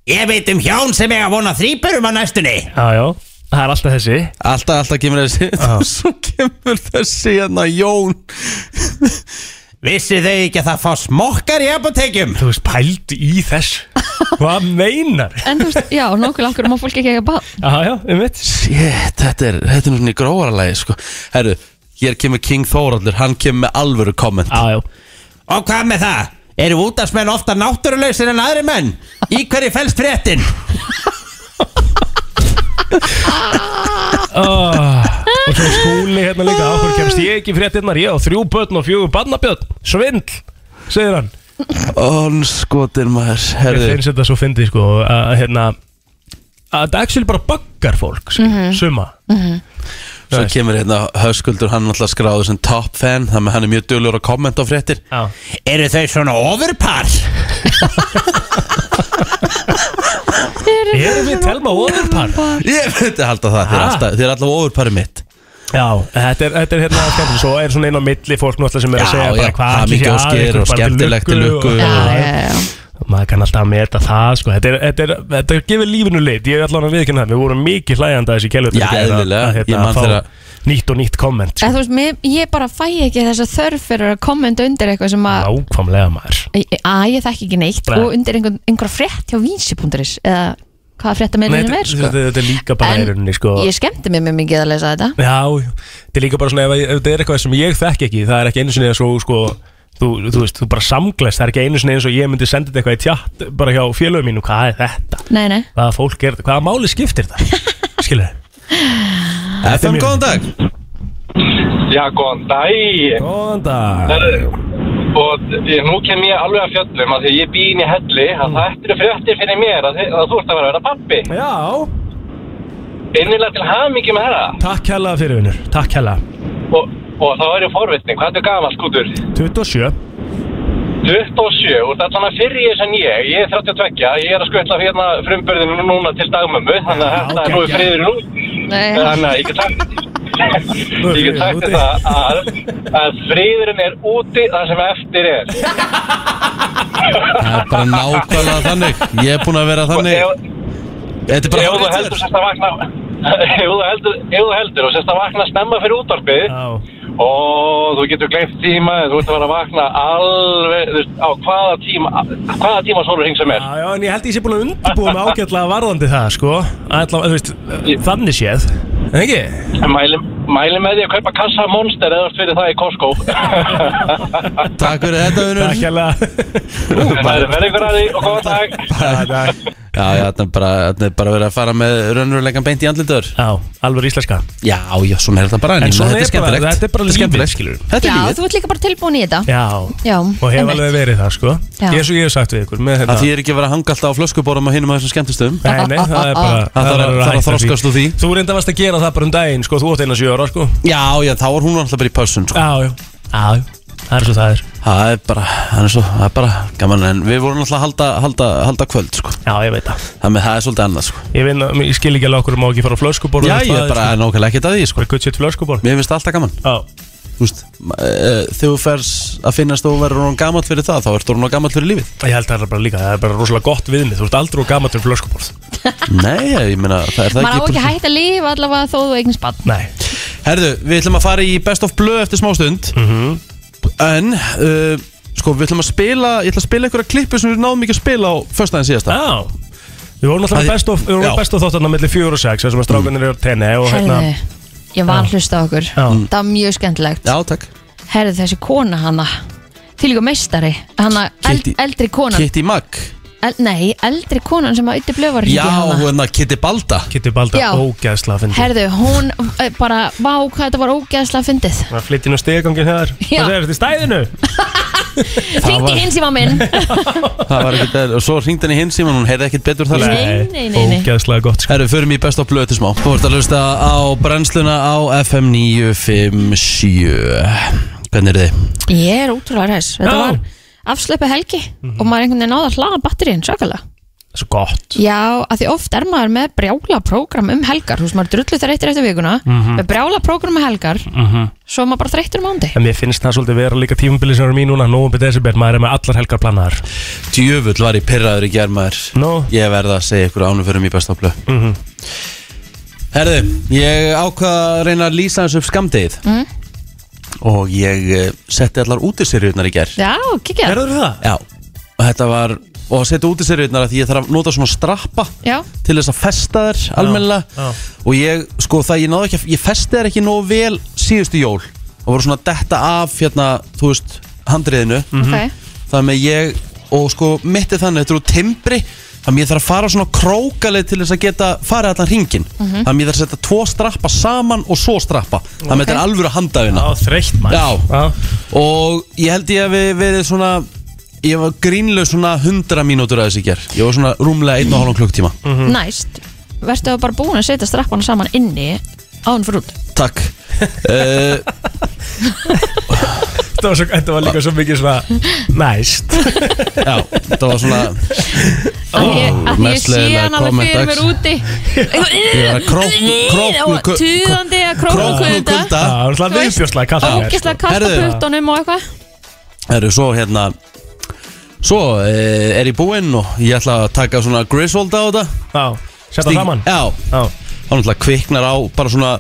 Ég veit um hjón sem eiga vona þrýburum á næstunni já, já Það er alltaf þessi Alltaf, alltaf kemur þessi Og svo kemur þessi hérna Jón Vissu þau ekki að það fá smokkar í apotekjum Þú veist, pældu í þess Hvað meinar? En þú veist, já, nokkuð langur má fólk ekki ekki að bá Já, já, um mitt Shit, þetta er, þetta er nú svona í gróðarlagi sko. Herru, hér kemur King Þóraldur Hann kemur með alvöru komment Já, já Og hvað með það? Eru útafsmenn ofta náttúruleysir en aðri menn? Í hverju fælst fréttin? oh. Og svo skúli hérna líka Áhver kemst ég ekki í fréttinnar Ég á þrjú börn og fjögur barnabjörn Svindl, segir hann Onskotin maður Ég Herru, finnst þetta svo fyndið sko Að hérna Að þetta actually bara baggar fólk mm Mhm. Suma Svo kemur hérna Höskuldur, hann er alltaf skráður sem top fan Þannig að hann er mjög dölur að kommenta á fréttir Já Eru þau svona overpar? Erum við telma ofurpar? Ég veit að halda það, þið er, Ha? alltaf, þið er alltaf ofurpari mitt Já, þetta er, þetta er hérna skemmtilegt Svo er svona einn á milli fólk náttúrulega sem er að Já, segja já, bara hvað ætli hamingju sé að, óskir einhver og bara til skemmtilegt til lukku og- Já, já, já. já Maður kann alltaf að meta það sko. þetta, er, þetta, er, þetta gefur lífinu lit Ég er allan að viðkynna það Við vorum mikið hlægjandi að þessi kelvut Já, eðlilega. Ég man að fá þegar að- nýtt og nýtt komment En sko. þú veist, mér, ég bara fæ ekki þessa þörf fyrir að kommenta undir eitthvað sem að Nákvæmlega maður að ég þekki ekki neitt Nei. og undir einhver, einhver frétt hjá vísi.is eða hvað frétta Nei, meðlunum þetta, er sko. þetta, þetta er líka bara En í rauninni sko. Ég skemmti mér mjög mikið að lesa þetta Já, já. þetta er líka bara svona ef, ef þetta er eitthvað sem ég þekk ekki það er ekki einu sinni eins og sko þú, þú veist, þú bara samglest, það er ekki einu sinni eins og ég myndi senda þetta eitthvað í tjátt bara hjá félögum mínu, hvað er þetta? Nei, nei, Hvaða fólk er þetta? Hvaða máli skiptir það? Skilur þið? FM, góðan dag Já, góðan dag Góðan dag Og eh, nú kem ég alveg að fjöllum að því ég bý inn í helli að það eftir fréttir fyrir mér að, þi- að þú ert að vera að vera pappi Já, Einnilega til hamingi með það takk hella fyrir vinnur, takk hella og, og þá er ég forvitni, hvað er gamalt skútur? 27 27 og þetta er fyrir ég sem ég ég er 32, ég er að skvölla hérna frumburðinu núna til dagmömmu þannig að þetta er nú geggjað. friður nú nei. Þannig að ég get sagt Ég get sagt Úti. þetta að, að friðurinn er úti það sem eftir er Það er bara nákvæmlega þannig Ég er búin að vera Og þannig Sko, ef- Þetta er bara Ef þú hárrétt hjá heldur þér. sérst að vakna Ef þú heldur, ef þú heldur og sérst að vakna snemma fyrir útvarpið Já, og þú getur gleypt tíma þú ert að vera að vakna alveg þú veist, á hvaða tíma hvaða tíma sólur hing sem já, er já, en ég held ég sé búin að undirbúa mig ágætlega varðandi það sko Alla, þú veist, þannig séð En ekki? mæli, mæli með því að kaupa kassa af monster eða þú ert fyrir það í Costco Takk fyrir þetta, Takk vinnur hella Það er verið ykkur að því og góðan dag Takk Já, já, þetta er bara, þetta er bara verið að fara með raunverulegan beint í andlitaður Já, alveg íslenska Já, já, svona er þetta bara En En, en svona þetta er er bara- skemmtilegt þetta er bara lífið, skemmtilegt. skilurðu. Þetta Já, er lífið þú ert líka bara tilbúin í þetta Já, Já, og hef einmitt. alveg verið það sko Já. Ég er svo ég hef sagt við ykkur með Það hérna því er ekki að vera að hanga alltaf á flöskuborum á hinum að þessum skemmtistöðum Nei, nei, það er bara Ah, Það þarf að- verður þarf að hætta því. þroskast úr því. Þú reynda varst að gera það bara um daginn, sko, þú átt eina sjö ára, sko Já, já, þá er hún alltaf bara í pössun sko. Já, já, já, já, það er svo það er Það er bara, það er svo, það er bara gaman En við vorum alltaf að halda, halda, halda kvöld sko. Já, ég veit það Það með það er svolítið annað sko. Ég, vinn, að- ég skil ekki alveg okkur má ekki fara á flöskuborð Já, ég er bara nákvæmlega ekkert að því sko. Bara gutt sitt flöskuborð Mér finnst það alltaf gaman Já, Þú veist, ma- eh, Þegar þú færs að finnast og verður hún gammal fyrir það Þá ertu hún gammal fyrir lífið ég held það er bara líka, það er bara rosalega gott viðmið Þú ert aldrei og gamalt um flöskuborð Nei, ég meina, það er það Maður á ekki bara- að hætta að lifa allavega þó þú eignist bann Nei, Herðu, við ætlum að fara í Best of Blue eftir smástund En, uh, sko, við ætlum að spila Ég ætla að spila einhverja klippu sem við náðum ekki að spila á Föstaðin síðasta já Við vorum Það- náttúrulega best of, við vorum Já. best of þáttan á milli 4 og 6 þessum að strákunir eru á tenni og hérna Herðu, ég var að hlusta á okkur Mm. Já. Það var mjög skemmtilegt Já, takk Herðu, þessi kona hana Fylgur meistari, hana eld, Kitty- eldri konan Kitty Mack el, Nei, eldri konan sem að yttu blöð var að hringja Já, í hana hérna, Kitty Balda Kitty Balda Já. ógæðsla að fyndi Herðu, hún eh, bara, vá, hvað þetta var ógeðslega fyndið Það flytti nú stegangin hér Já. Það er þetta í stæðinu Hringdi var- hins í minn Það var ekkert eðl- Og svo hringdi henni hins síman, hún heyrði ekkert betur þar sko. Nei, nei, nei, nei. Ógæðslega gott sko. Herru, förum í Best of Blue eftir smá Þú ert að lusta á brennsluna á FM 957 Hvernig er þið? Ég er ótrúlega res Já. Þetta Mhm. var afslöpu helgi og maður einhvern veginn náða að hlaða batterín svakalega Svo gott Já, að því oft er maður með brjála prógram um helgar, þú veist maður drullu þar eittir eftir vikuna, Mhm. með brjála prógram um helgar svo er maður bara þreyttur um ándi En mér finnst það svolítið vera líka tímabilið sem er mín núna Nóum byrðið desember, maður er með allar helgar planaðar Djöfull var ég pyrraður í germaður Nú? Ég verða að segja ykkur ánum fyrir mig bestaflu mm Mhm. Herðu, ég ákvaða að reyna að lýsa þessu upp skamdegið Og ég eh, setti allar útiseriurnar í ger Já, kikja, Gerður það? Já, og þetta var Og að setja útiseriurnar að því ég þarf að nota svona strappa já, Til þess að festa þær almennilega já. Og ég, sko það, ég náðu ekki að Ég festi þær ekki nógu vel síðustu jól Og voru svona að detta af, hérna, þú veist, handriðinu Mhm. ok þannig að ég og sko mitt er þannig, þetta eru timbri þannig að ég þarf að fara svona krókalið til þess að geta farið allan ringin Mhm. þannig að ég þarf að setja tvo strappa saman og svo strappa þannig að þetta er alvöru handafina Já, þreytt Já. maður og ég held ég að við verið svona ég var grínlega svona 100 mínútur að þessi ger ég var svona rúmlega 1,5 klukktíma Mm. næst verðstu þá bara búin að setja strappana saman inni án fyrir út takk uh, Þetta var, svo, þetta var líka svo mikið svona Næst já, þetta var svona að ég, að ég mest sé leiðinlega hann alveg comment fyrir X. mér úti Ég var að krókn- króknu- kö- tuðandi að króknu kulda Það var alltaf veist, viðbjóðslega kallt í mér, sko. ógislega kasta Herðu. puttunum og eitthvað Herru, svo hérna Svo eh, er ég búinn og ég ætla að taka svona Griswold á þetta sko. Já, setja það saman Já, Já, þá náttúrulega kviknar á bara svona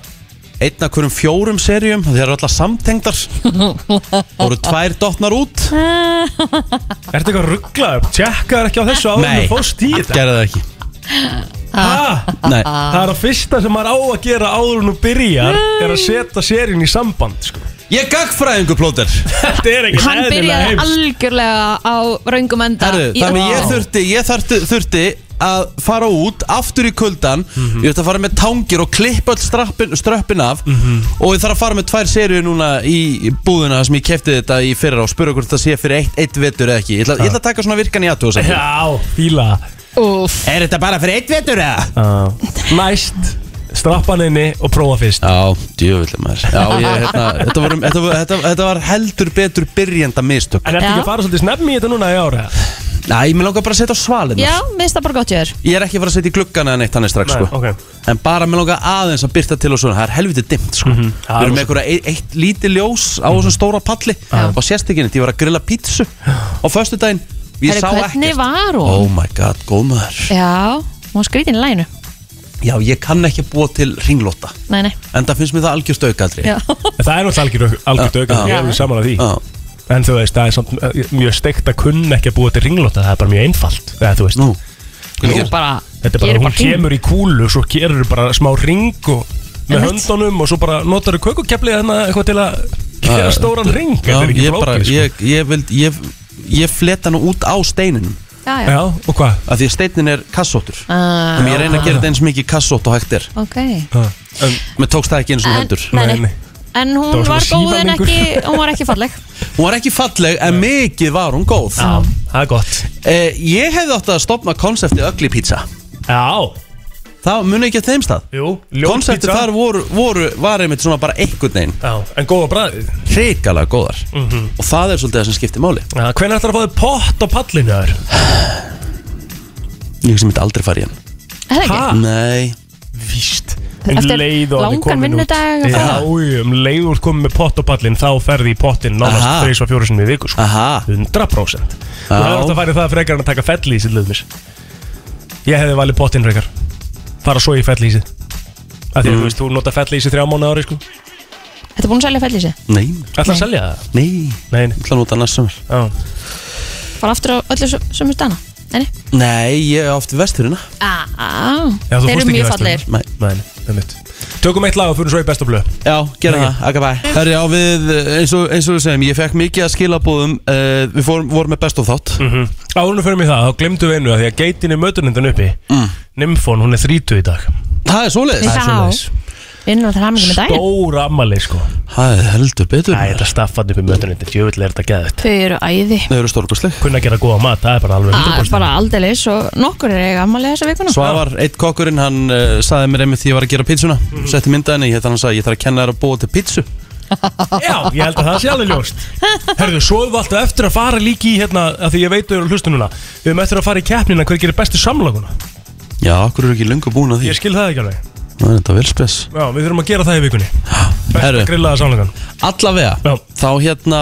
einn af hverjum fjórum serjum Það eru alltaf samtengdar Það voru tvær dotnar út ertu eitthvað rugglaður? Tjekkaður ekki á þessu áður en Nei, þú fórst í þetta? Ah, gerði það ekki Ha? Nei, Það er að fyrsta sem maður á að gera áður en þú byrjar er að setja serín í samband sko. ég er gagfræðingur plóter Þetta er ekki hann byrjaði algjörlega á raungum enda Herru, í þannig að ég öllu. þurfti, ég þurfti, þurfti að fara út aftur í kuldan Ég þurfti að fara með tangir og klippa all strappin, ströppin af Og ég þarf að fara með tvær serið núna í búðuna þar sem ég kefti þetta í fyrra og spura hvort það sé fyrir eitt, eitt vetur eða ekki Ég ætla, ég ætla að taka svona virkan í aðtúr Já, fíla Úff, Er þetta bara fyrir eitt vetur eða? Já. Uh, Næst, strappan inni og prófa fyrst Já, djöfull maður Já, ég, hérna, þetta, var, þetta, var, þetta, þetta var heldur betur byrjanda mistök En ertu Já. ekki að fara svolítið snemmi í þetta núna í ára? Næ, mér langar bara að setja á svalinn já, minnst það bara gott ég er Ég er ekki að fara að setja í gluggan eða neitt hann er strax Nei, sko. ok. En bara með langar aðeins að byrta til og svona Það er helviti dimmt sko. það er Við erum með einhverja eitt, eitt lítið ljós á Mhm. þessum stóra palli Og sérst ekki neitt, ég var að grilla pítsu Á föstu daginn Ég Herru, sá hvernig ekkert var hún? Oh my god, góð maður já, hún var skrítin í læginu Já, ég kann ekki að búa til ringlóta nei, nei, En það finnst mér það algjörst aukaldri já, En það er náttúrulega algjörð auka Já. Ég er alveg saman að því Já. En þú veist, það er samt eh, mjög steikt að kunna ekki að búa til ringlóta Það er bara mjög einfalt Eða, þú veist, Nú, hún hvernig gerst? bara Þetta er bara, gerir hún hring. kemur í kúlu Svo gerur bara smá ring og, með Einmitt. höndunum Og svo bara notar þú kökukeflið hérna eitthvað til að gera stóran ring Já, Þetta er ekki ég, bara, flókið sko. ég, ég, vild, ég, ég fleta nú út á steinin já, já, Já, og hvað? af því að steinin er kassóttur Ah. þannig ég reyna að gera þetta eins mikið kassótt og hægt er ok mér tókst það ekki eins og En- hendur Nei, nei, nei. nei. En hún Það var var svona góð en símamenningur. ekki, hún var ekki falleg hún var ekki falleg en mikið var hún góð Já, það er gott eh, ég hefði átt að stopna konsepti ögli pizza Já, það muni ekki að þeim stað jú, konsepti ljóðpítsa þar voru, voru var einmitt svona bara einhvern veginn Já, en góða bræðið hrikalega góðar og það er svolítið það sem skiptir máli Já, Hvernig ætlar að fá þig pott á pallinu þar? ég sem myndi aldrei fara í hann Er það ekki? nei Víst Eftir langan vinnudag og Já, það. jú, um leið úr komin með pott á pallin Þá ferði í pottin Aha. nánast 3-4 sinni í viku sko. Aha. 100% Þú hefur alltaf farið það frekar en að taka fellísið löðmis Ég hefði valið pottin frekar Fara svo í fellísið Af því að þú veist, þú nota fellísið þrjá mánu ári sko. Þetta er búin að selja fellísi nei Ætlar að selja það? nei Nei, nei. ég ætla að nota næst sumar Já. Fara aftur á öllu sömur stana Nei, nei. nei ég hef átt vesturina Á, á. Já, þú Þeir fórst eru ekki mjög í verslun. fallegir nei Nei, nei, einmitt. Tökum eitt lag og fyrir svo í bestu blöð Já, gera það, akka bæ Herri, já, við, eins og, eins og við segjum, ég fekk mikið að skilabúðum uh, Við fórum, vorum með best of þátt Mhm. Áður en við förum í það, þá glemdu við einu að því að geitin er mötunendan uppi mm. Nymfón, hún er 30 í dag Það er svoleiðis Það er svoleiðis. Við erum að það hafa mikið með daginn Stór ammali sko Það er heldur betur Æ, þetta staffan upp í mötunendan, djöfull er þetta geðvægt Þau eru æði Þau eru stórkostleg Kunna gera góða mat, það er bara alveg Ah, 100% Bara aldeilis og nokkur er eiga ammali þessa vikuna Svavar, eitt eh, Mhm. kokkurinn, hann uh, saði mér einmitt því ég var að gera pizzuna mm -hmm. Setti myndaðinni, hérna hann sagði, ég þarf að kenna þér að búa til pizzu Já, ég held að það sé alveg ljóst Herðu, svo við alltaf eftir að fara líki í hérna að Því ég veit þau eru að hlusta núna Við höfum eftir að fara í keppnina hver gerir bestu samlaguna Já, okkur eru ekki löngu búin að því Ég skil það ekki alveg Það er þetta vel spes Já, við þurfum að gera það í vikunni Besta Herru, grillaða samlagan Já. allavega Þá hérna,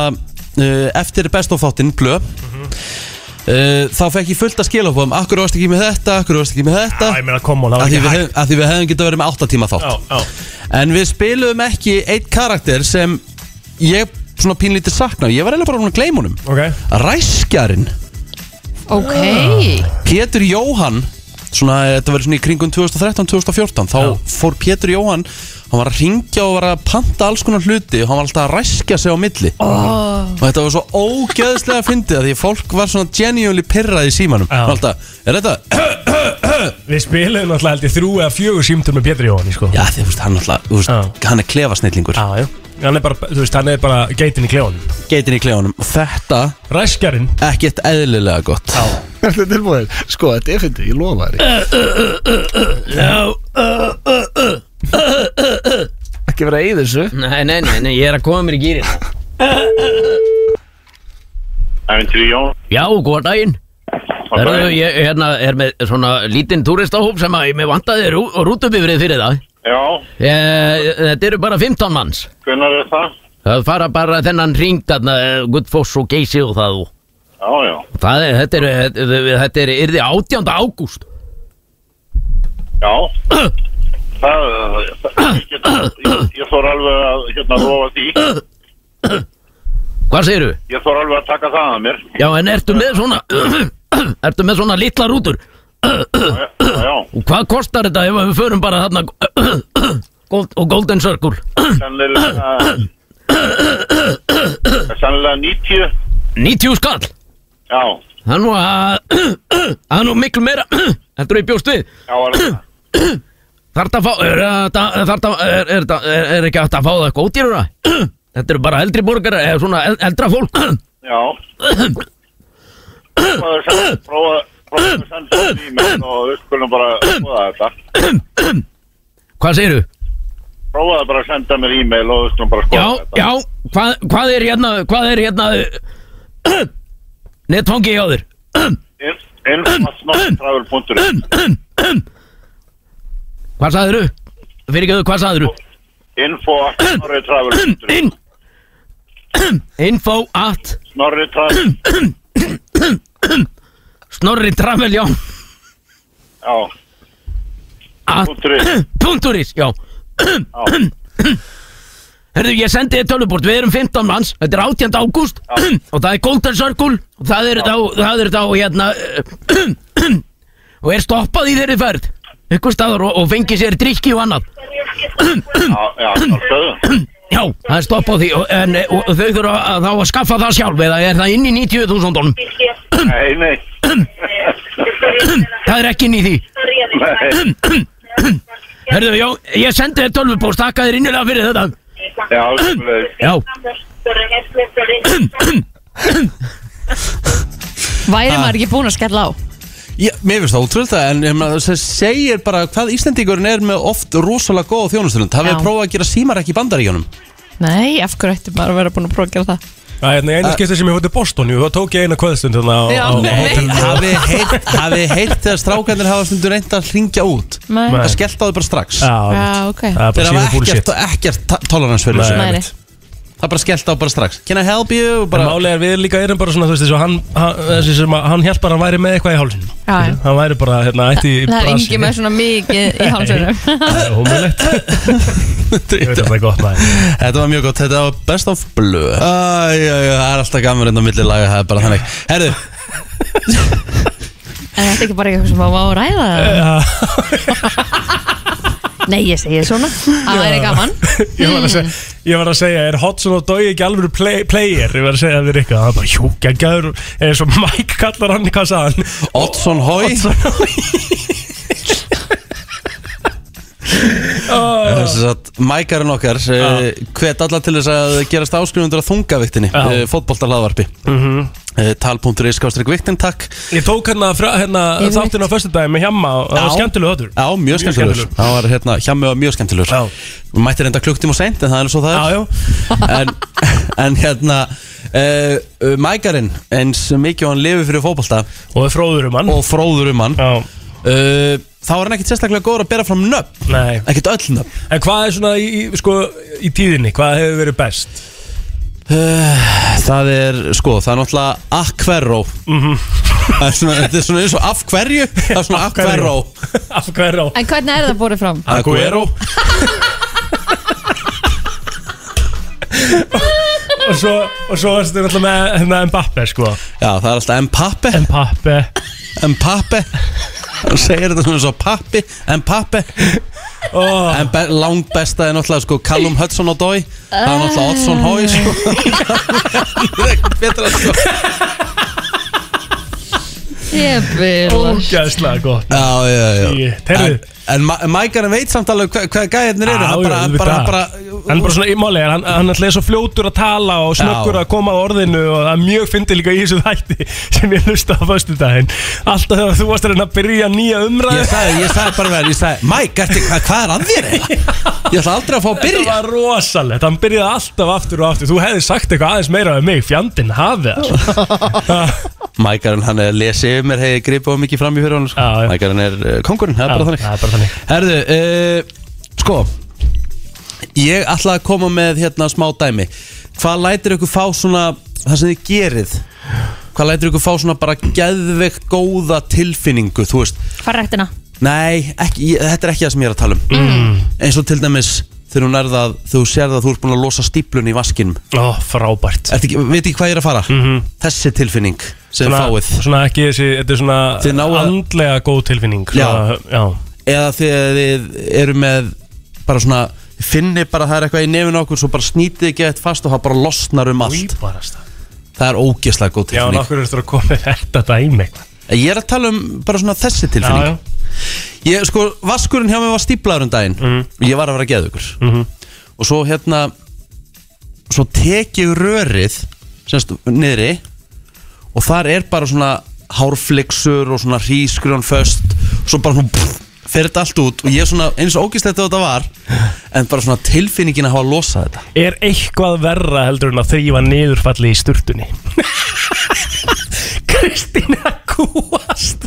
uh, eftir best of þáttinn Blö Mhm. uh, Þá fekk ég fullt að skila upp um Akkur varst ekki með þetta, akkur varst ekki með Já, þetta ég meina, kom on, það Af var því ekki við hægt hefum- af því við hefum getað verið með 8 tíma þátt Já, já, En við spilum ekki eitt karakter sem ég svona pínlítið sakna Ég var eiginlega bara búinn að gleyma honum ok Ræskjarinn, Ok Pétur Jóhann Svona, þetta verður svona í kringum 2013-2014 Þá Já. fór Pétur Jóhann Hann var að ringja og var að panta alls konar hluti Og hann var alltaf að ræskja sig á milli oh. Og þetta var svo ógeðslega fyndið af Því að fólk var svona genuinely pirrað í símanum Já. Hann var Alltaf, er þetta? Við spilum náttúrulega held ég þrjú eða fjögur símtur með Pétur Jóhann, sko Já, því þú veist, hann alltaf, þú veist, Já. hann er klefasnillingur já Hann er bara, þú veist, hann er bara geitin í kljónum Geitin í klefanum Og þetta, Ræskjarinn ekkert eðlilega gott Já Er þetta tilbúið? Sko, þetta er fyndið, ég lofa þér Ekki vera í þessu Nei, nei, nei, nei, ég er að koma mér í gýrin Æventyri Jón Já, góðan daginn Erðu, ég hérna, er með svona lítinn túristahóp sem að mig vantaði rú, rútubifrið fyrir það Já, ég, Þetta eru bara 15 manns hvernig er það? Það fara bara þennan ring þarna, eh, Gullfoss og Geysi og það og Já, já, Það er, þetta er, þetta er, þetta er yrði 18. ágúst já Það, það ég, get, ég, ég þór alveg að hérna lofa því Hvað segirðu? Ég þór alveg að taka það að mér Já, en ertu með svona Ertu með svona litla rútur Já, já, Og hvað kostar þetta ef við förum bara þarna Gold, og Golden Circle sennilega Sennilega 90 90 skall Já, Það er nú að Það er nú miklu meira Heldur ég bjóst við já, var það Þarft að fá Er, þetta- þarft að, er, er, þetta- er, er ekki hægt að fá það eitthvað ódýrura Þetta eru bara eldri borgara Eða svona el- eldra fólk Já Prófaðu að senda- Prófaðu prófaðu að senda það í mig og við skulum bara skoða þetta Hvað segirðu? Prófaðu bara að senda mér e-mail og við skulum bara skoða Já, þetta já hvað, hvað er hérna Hvað er hérna Netfangi hjá þér In, Infasnottravel.ru Hvað sagðirðu? Fyrir ekki hvað sagðirðu? Info at snorritravel.ru In, info at Snorritravel Snorri Travel, já Já, At punktur is. Punturis, já já, Herðu, ég sendi þið tölvuport, við erum 15 manns Þetta er 18. ágúst Og það er Golden Circle Og það er þá, það er þá, hérna Og er stoppað í þeirri ferð Ykkur staðar og, og fengi sér drikki og annað já, já, sjálfsögðu. Já, það er stoppað því og, En og, og þau þurfa að, þá að skaffa það sjálf Eða er það inn í 90.000 dólum Nei, nei Það er ekki inn í því Nei, Herðu, já, ég sendi þið tölvuport Takka þér innilega fyrir þetta Já, sjálfsögðu. Já, Væri maður ekki búin að skella á Já, mér finnst það ótrúlega það, en ég meina, það segir bara hvað Íslendingurinn er með oft rosalega góða þjónusturinn. Það Já. við prófa að gera símarekk í bandaríkjónum. Nei, af hverju ætti maður að vera búin að prófa að gera það Það er hérna einu skipti sem ég fótti Boston Jú, þá tók ég eina kvöðstund hérna á, Já, á, á nei. hótelinu. Hafið heyrt, hafið heyrt þegar strákarnir hafa stundur reynd að hringja út. Nei. Það skellt á þau bara strax. Já, Já, einmitt. ok Það er bara Þeir hafa síðan ekkert, bullshit ekkert tolerans fyrir Nei. þessu. Nei, nei. Það er bara skellt á bara strax. Can I help you? En Bara, Málið er við líka erum bara svona, þú veist, þessu hann, hann, þessi sem að hann held bara að hann væri með eitthvað í hálsinn Já, já. Hann væri bara, hérna, ætti í Það er brasi. yngi með svona mikið í hálsunum Það er ómulegt Ég veit að það er gott maður Þetta var mjög gott, þetta var best of blue Æ, já, já, það er alltaf gaman enn á milli laga, það er bara þannig Herðu, En þetta er ekki bara eitthvað sem maður má ræða Nei, ég segi svona Það væri gaman ég var, að segja, ég var að segja, er Hodson og Dói ekki alveg play, player? Ég var að segja það við Rikka Það er bara, jú, geggjaður Eða svo Mike kallar hann, hvað sagði hann? Oddsson Hói Þess að mækarinn okkar eh, uh, hvet alla til þess að gerast áskrifundur að þungaviktinni uh, fótboltarhlaðvarpi mm eh, tal.is skástrík viktin takk Ég tók hérna, fra, hérna Yfirleitt. þáttinn á föstudaginn með hjamma og það var Já. skemmtilega öður Já, mjög skemmtilegur Það var hérna, hjá mig var mjög skemmtilegur Já. Við mættir enda klukktíma seint en það er eins og það Já, er já en, en hérna uh, Mækarinn, eins mikið og hann lifið fyrir fótbolta Og við fróðurum hann og fróður um hann uh, Já, Eh, Þá er hann ekkit sérstaklega góður að bera fram nöfn nei Ekkit öll nöfn En hvað er svona í, í- sko, í tíðinni, hvað hefur verið best? Eh, Það er, sko, það er náttúrulega Akverró Það er svona- Þetta er svona eins og af hverju Það er svona Mhm. Af hverju? Akverró Af hverju á? En hvernig er það búið fram? Aguero. Og svo, og svo erstu náttúrulega með hérna, Mbappe, sko Já, það er alltaf Mbappe Mbappe Mbappe Hann segir þetta svona eins og pappi Mbappe oh, En be langbesta er náttúrulega sko Callum Hudson og Dói Það er náttúrulega Oddsson Hói sko. Það er ekkert betra sko Ég vil Ógæðslega gott Já, já, já Shit, heyrðu. En, en Ma- Mækarinn veit samt alveg hvað hva gæðirnir eru Já, Hann bara, já, hann auðvitað. bara, hann bara Hann er bara svona ímálegar, hann, hann ætlaði svo fljótur að tala og snöggur Já. að koma á orðinu og það er mjög fyndið líka í þessu þætti sem ég hlusta á föstudaginn Alltaf þegar þú varst að reyna að byrja nýja Ég umræðu sagði, ég sagði bara verið, ég sagði Mæk, hvað, hvað er að þér eiginlega? Ég ætla aldrei að fá að Þetta byrja var rosalegt, hann byrjaði alltaf aftur og aftur Þú hefði sagt eitthvað aðeins meira um mig, fjandinn hafið það sko. Mækarinn, hann er lesið um mér, hei, gripið of mikið fram í fyrir hann sko. Já, já. Mækarinn er uh, kongurinn, það er bara þannig Það er bara þannig Herðu, uh, sko Ég ætla að koma með hérna smá dæmi Hvað lætir ykkur fá svona Það sem þið gerið Hvað lætir ykkur fá svona bara geðveikt góða tilfinningu Þú veist, Hvað rættina? nei, ekki, ég, þetta er ekki það sem ég er að tala um Mm. Eins og til dæmis þegar hún er það Þú sér það þú ert búin að losa stíplun í vaskinum Ó, frábært Ertu ekki, Veit ekki hvað ég er að fara? Þessi tilfinning sem þið fáið Mhm. svona ekki þessi, þetta er svona Þið náið að- andlega góð tilfinning svona, já. eða þegar þið eru með bara svona þið finni bara að það er eitthvað í nefn okkur svo bara snýtið ekki eitt fast og það bara losnar um allt Íbarast það það er ógeðslega góð Já, en tilfinning okkur er þetta að koma með þetta dæmi ég er að tala um bara svona þessi tilfinning ég sko vaskurinn hjá mig var stíplaður um daginn Mhm. og ég var að vera að geða ykkur og svo hérna svo tek ég rörið semst niðri og þar er bara svona hárflixur og svona hrísgrjón föst og svo bara svona pff, fer þetta allt út og ég er svona eins og ógislegt þetta var en bara svona tilfinningin að hafa að losa þetta Er eitthvað verra heldur en að þrýfa niðurfalli í sturtunni? Kristína kúast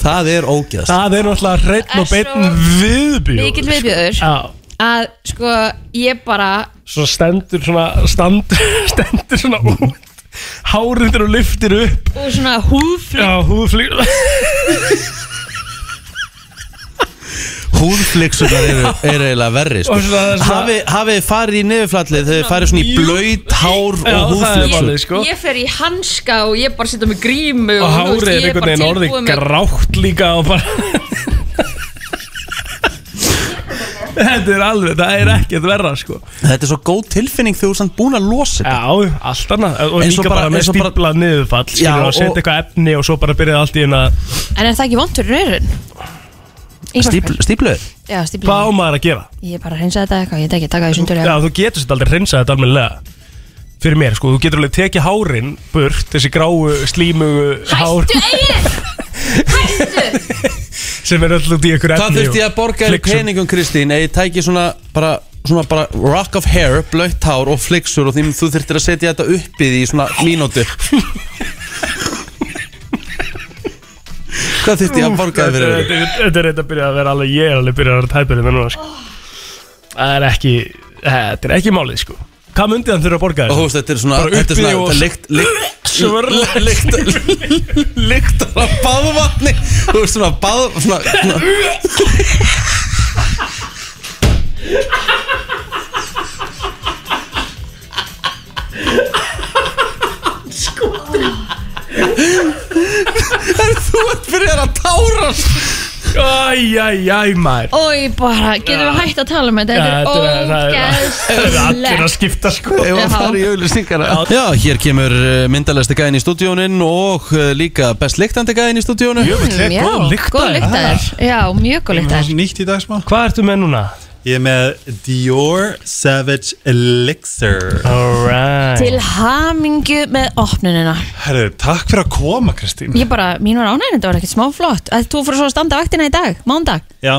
það er ógeðst Það er náttúrulega hreinn og Það er svo beinn viðbjóður Mikill viðbjöður Já, Að sko ég bara svo stendur svona stendur, stendur svona út Hárindur og lyftir upp Og svona húfl Já, húðflýr húðflixurnar eru, eru eiginlega verri sko. Og svona- það er svona- Hafi- hafið þið farið í niðurflallið þegar þið farið svona í blöyt hár og húðflixur sko Ég fer í hanska og ég bara setja mig grímu Og þú veist, hárið ég er einhvern bara veginn orðið tilbúin með- grátt líka og bara Þetta er alveg, það er ekkert verra sko Þetta er svo góð tilfinning þegar þú er samt búin að losa þetta Já, allt annað Og Eins og líka bara, bara- með eins og bara- stíplað niðurfall Já, Skilur og setja og- eitthvað efni og svo bara byrjaði allt í hérna En er það ekki vond fyrir raurun? Stípl, Stípluður? Já, stíplu Hvað á maður að gera? Ég bara hreinsaði þetta eitthvað, ég veit ekki, taka því sundur Já, þú getur sér aldrei hreinsað þetta almennilega Fyrir mér, sko, þú getur alveg tekið hárin burt, þessi gráu, slímugu hár Hættu eigin! Hættu! sem er öll út í ykkur Hvað efni þurfti ég að borga þér í Flixum. peningum Kristín eða ég tæki svona bara, svona bara rock of hair, blöytt hár og flixur og því þú þurftir að setja þetta uppið í svona mínútu Hvað þurfti ég að borga þér fyrir Þetta þetta? er- þetta er reynd að byrja að vera alveg Ég er alveg byrjað að vera tæpurinn með núna sko. Það er ekki Þetta er ekki málið sko Hvað myndi hann þurfa að borga Og þú þessu? veist, þetta er svona, Bara þetta er uppið svona, og- þetta er lykt, lykt Svörla Lyktar Lyktar af baðvatni Þú veist svona bað svona, svona. Skotin Þú ert fyrir að tárast Æjæjæj maður Ói, bara, getum við hægt að tala um þetta? Já, þetta Þetta er- það er er- Það er allir að ógæðslegt skipta sko Ef Já. að fara í auðlýstingana Já, hér kemur myndalæsti gæðin í stúdíónin og eh, líka best lyktandi gæðin í stúdíónu Jöfull, Mm, þetta er Já, góð lykta góð lyktaðir Já, mjög góð Það er lyktaðir svo nýtt í dag smá Eh, Hvað ertu með núna? Ég er með Dior Savage Elixir Alright Til hamingju með opnunina Herru, takk fyrir að koma Kristín Ég bara, mín var ánægðin, þetta var ekkert smá flott að Þú fyrir svo að standa vaktina í dag, mándag Já,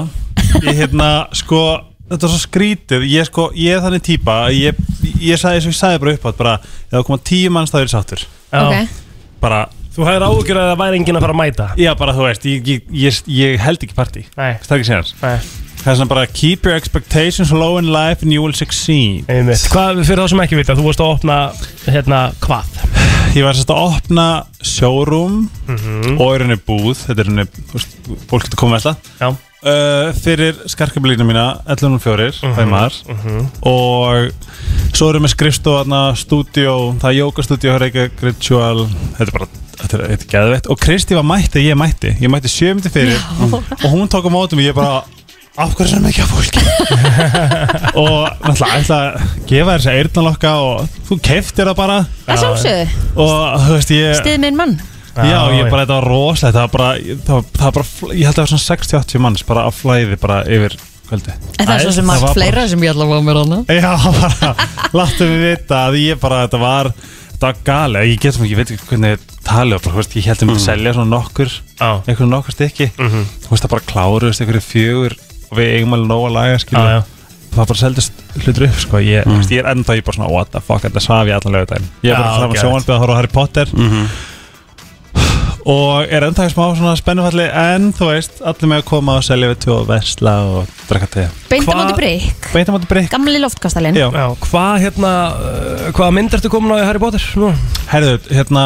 ég hérna sko Þetta er svo skrítið, ég sko, ég er þannig típa að Ég, ég sagði svo, ég sagði bara upp átt bara Ef það koma tíu manns það er sáttur Já. Ok, Bara, Þú hefur ágjör að það væri enginn að fara að mæta já bara þú veist Ég, ég, ég, ég held ekki partí Nei. Það er ekki séðans Nei, Það er svona bara keep your expectations low in life and you will succeed einmitt Hvað, fyrir þá sem ekki vita, þú vorst að opna, hérna, hvað? Ég var sérst að opna showroom Mhm. og er henni búð Þetta er henni, þú veist, fólk getur komið alltaf Já uh, fyrir skarkablínu mína 11.04 uh og svo erum við skrifstofarna stúdíó, það er jókastúdíó Reykjavík Ritual, þetta er bara þetta er, þetta er geðveitt og Kristi var mætti, ég mætti ég mætti sjöfndi fyrir Mhm. og hún tók á mótum og ég bara af hverju sem ekki að fólki og náttúrulega ætla að gefa þér þessi eyrnalokka og þú keftir það bara það sjálfsögðu, og þú veist ég stið minn mann Já, Já, ég já. bara, þetta var rosalegt Það var bara, það var, það var bara fl- ég held að það var svona 60-80 manns bara að flæði bara yfir kvöldi En það er svo sem Það margt var fleira sem ég ætla að fá mér hana Já, bara, láttu mig vita að ég bara, þetta var þetta var gali, ég get sem ekki, ég veit ekki hvernig ég tali og bara, þú veist, ég held að mér selja svona nokkur Mhm. Já. Mhm. einhver nokkur stykki þú veist, það bara kláruðist einhverju fjögur og við eigum alveg nóg að laga, skilur Já, já. það bara seldist hlutur upp, sko ég, mm. veist, ég er enda, ég er bara svona, what the fuck, þetta svaf ég allan lögudaginn ég er bara Já, fram að geðveikt. sjónarbið að horfa á Harry Potter og er enda í smá svona spennufalli en þú veist, allir með að koma og selja við tjó og vesla og drekka te Beintamóti Hva- Brygg, beintum átti breyk, gamli loftkastalinn já Já, hvað, hérna, uh, hvað mynd ertu komin á í Harry Potter? Nú? Herðu, hérna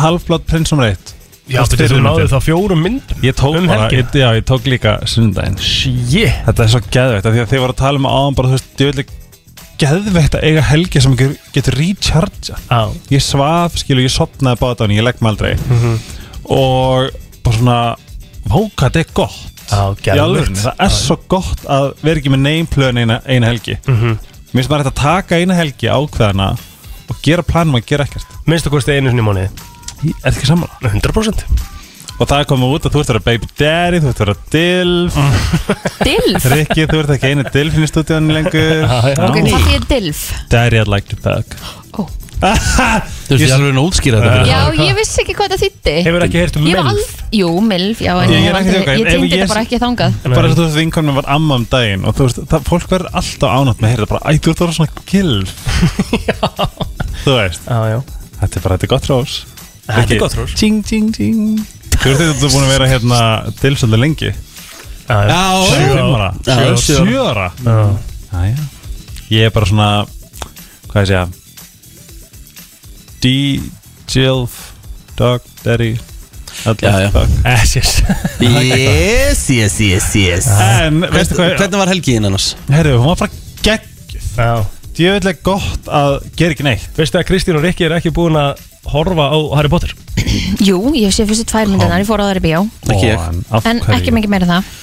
Half-Blood Prince um reitt Já, Þú þú styrir náðu myndin. þá fjórum myndum Ég tók Um bara, helgina? ég, já, ég tók líka sundaginn Shit Þetta er svo geðveikt af Því að þið voru að tala um áðan bara, þú veist, djöðlega geðveikt að eiga helgi sem getur, getur recharge Já, Ég svaf, skilu, ég sopnaði báða dánu, ég legg mig aldrei Og bara svona, váka, þetta er gott já, Í alvörunni, gæðvögt það er svo gott að vera ekki með neimplöðin eina, eina helgi Mér finnst bara hægt að taka eina helgi ákveðana og gera planum að gera ekkert Minnstu kosti einu sinni í mánuði Ég er ekki sammála 100% Og það er komið út að þú ert að vera baby daddy, þú ert að vera dilf Dilf, Rikki, þú ert ekki einu dilfin í stúdíónu lengur ok, Já. hvað þýðir Dilf? Daddy, I'd like to bug Ó. Þú veist, ég alveg að útskýra þetta fyrir Já, ég vissi ekki hvað það þýtti Hefur ekki heyrt um Ég hef mynd? alveg, jú, milf, já, en Ég ég, er hef ekki að aldrei, djóka, ég ef tengdi ég- þetta bara ekki þangað Bara þess að þú veist vinkonum var amma um daginn og þú veist, það, fólk verður alltaf ánátt með heyrða bara, æ, þú ert að vera svona gilf Þú veist, Já, já þetta er bara, þetta er gott rós Þetta er Rikki, gott rós. Ting, ting, ting Þú veist þetta er búin að vera hérna dilf svolítið lengi Já, Sjö ára Já, sjö ára. Sjö ára já Jæja Ég er bara svona Hvað ég segja D, Jilf Dog, Daddy Já, já. Ashes Yes, yes, yes, yes En veistu Hvern- hvað Hvernig var helgiðin annars? Herru, hún var bara gegg Já Djöðlega gott að gera ekki neitt Veistu að Kristín og Rikki er ekki búin að horfa á Harry Potter Jú, ég sé fyrstu tvær myndirnar, ég fór á þær í bíó Ekki ég. En ekki mikið meira en það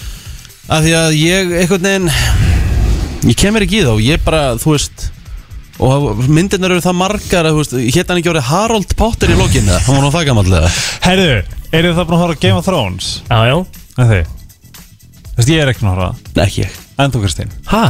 Af því að ég einhvern veginn Ég kemur ekki í þá, ég bara, þú veist Og myndirnar eru það margar að, þú veist, Hétt hann ekki orðið Harold Potter í lokinu eða? Hann var nú það gamallega Herru, eru það búin að horfa á Game of Thrones? Já, já En þið? Þú veist, ég er ekki búin að horfa á það. Nei, ekki ég En þú Kristín Hæ?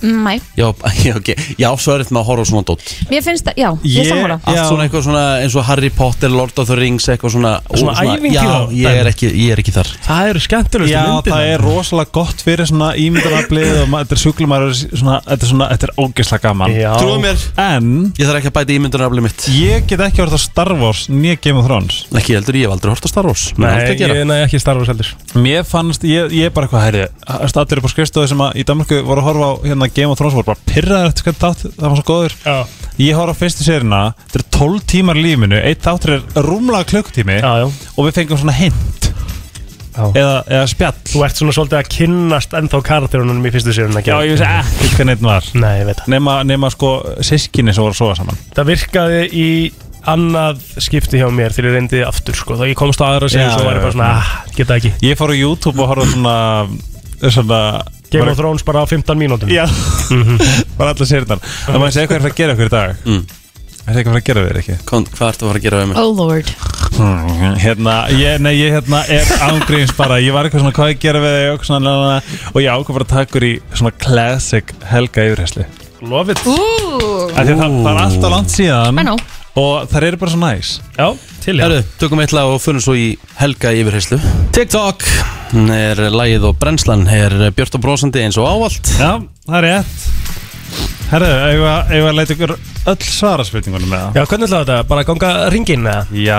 Mæ, Já, já, ok, já, svo er þetta með að horfa á svona dótt mér finnst það, já, ég Ég- sammála Allt Já. svona eitthvað svona eins og Harry Potter, Lord of the Rings Eitthvað svona ó, Svona ævintýra- Já, ég er ekki, ég er ekki þar Það eru skemmtilegustu Já, myndir það er rosalega gott fyrir svona ímyndarablið og ma- þetta er sjúklumar svona, þetta er svona, þetta er ógeðslega gaman Já Trúðu mér, En ég þarf ekki að bæta ímyndunarafli mitt Ég get ekki orðið á Star Wars Nýja Game of Thrones Ekki heldur, ég hef aldrei hort á Star Wars Mun Nei, aldrei gera. ég næ ekki starfa seldur Mér fannst, ég, ég er bara eitthvað herri Allir upp á skrifstofu sem að í Danmarku voru að horfa á hérna, Game of Thrones voru bara pyrraður eftir hvernig þátt það var svo góður Já Ég horf á fyrstu sérina, þetta er 12 tímar í lífinu Eitt þáttur er rúmlega klukkutími Já, já Og við fengum svona hint Já eða, eða spjall Þú ert svona svolítið að kynnast ennþá karakterunum í fyrstu sérun að Já, gera ég vissi ekkert hvernig einn var Nei, ég veit það Nema, nema sko sískinni sem voru að sofa saman Það virkaði í annað skipti hjá mér þegar ég reyndi aftur sko þá ég komst á aðra sér Já, og var ég bara já, já. svona ah, geta ekki Ég fór á YouTube og horfði á svona Svona Game of Thrones bara á 15 mínútum Já, bara allar sérnar Það maður segja hvað er að fara að gera okkur í dag Það er eitthvað að fara að gera við ekki Kon- Hvað ertu að fara að gera við mig? Oh lord Hérna, ég, nei, ég hérna er ángríns bara Ég var eitthvað svona, hvað ég gera við þig og, svona, lala, og ég ákvað bara að taka úr í svona classic helga yfirhersli Lofið Ú, Það, það er alltaf langt síðan I know. Og það eru bara svo næs Já, til ég Herru, tökum eitt lag og funnum svo í helga yfirheyslu TikTok Hún er lagið og brennslan er björt og brósandi eins og ávallt Já, það er rétt Herðu, eigum við að- eigum við að leita ykkur öll svara spurningunum með það Já, hvernig ætlaði þetta? Bara að ganga ringin eða? Já,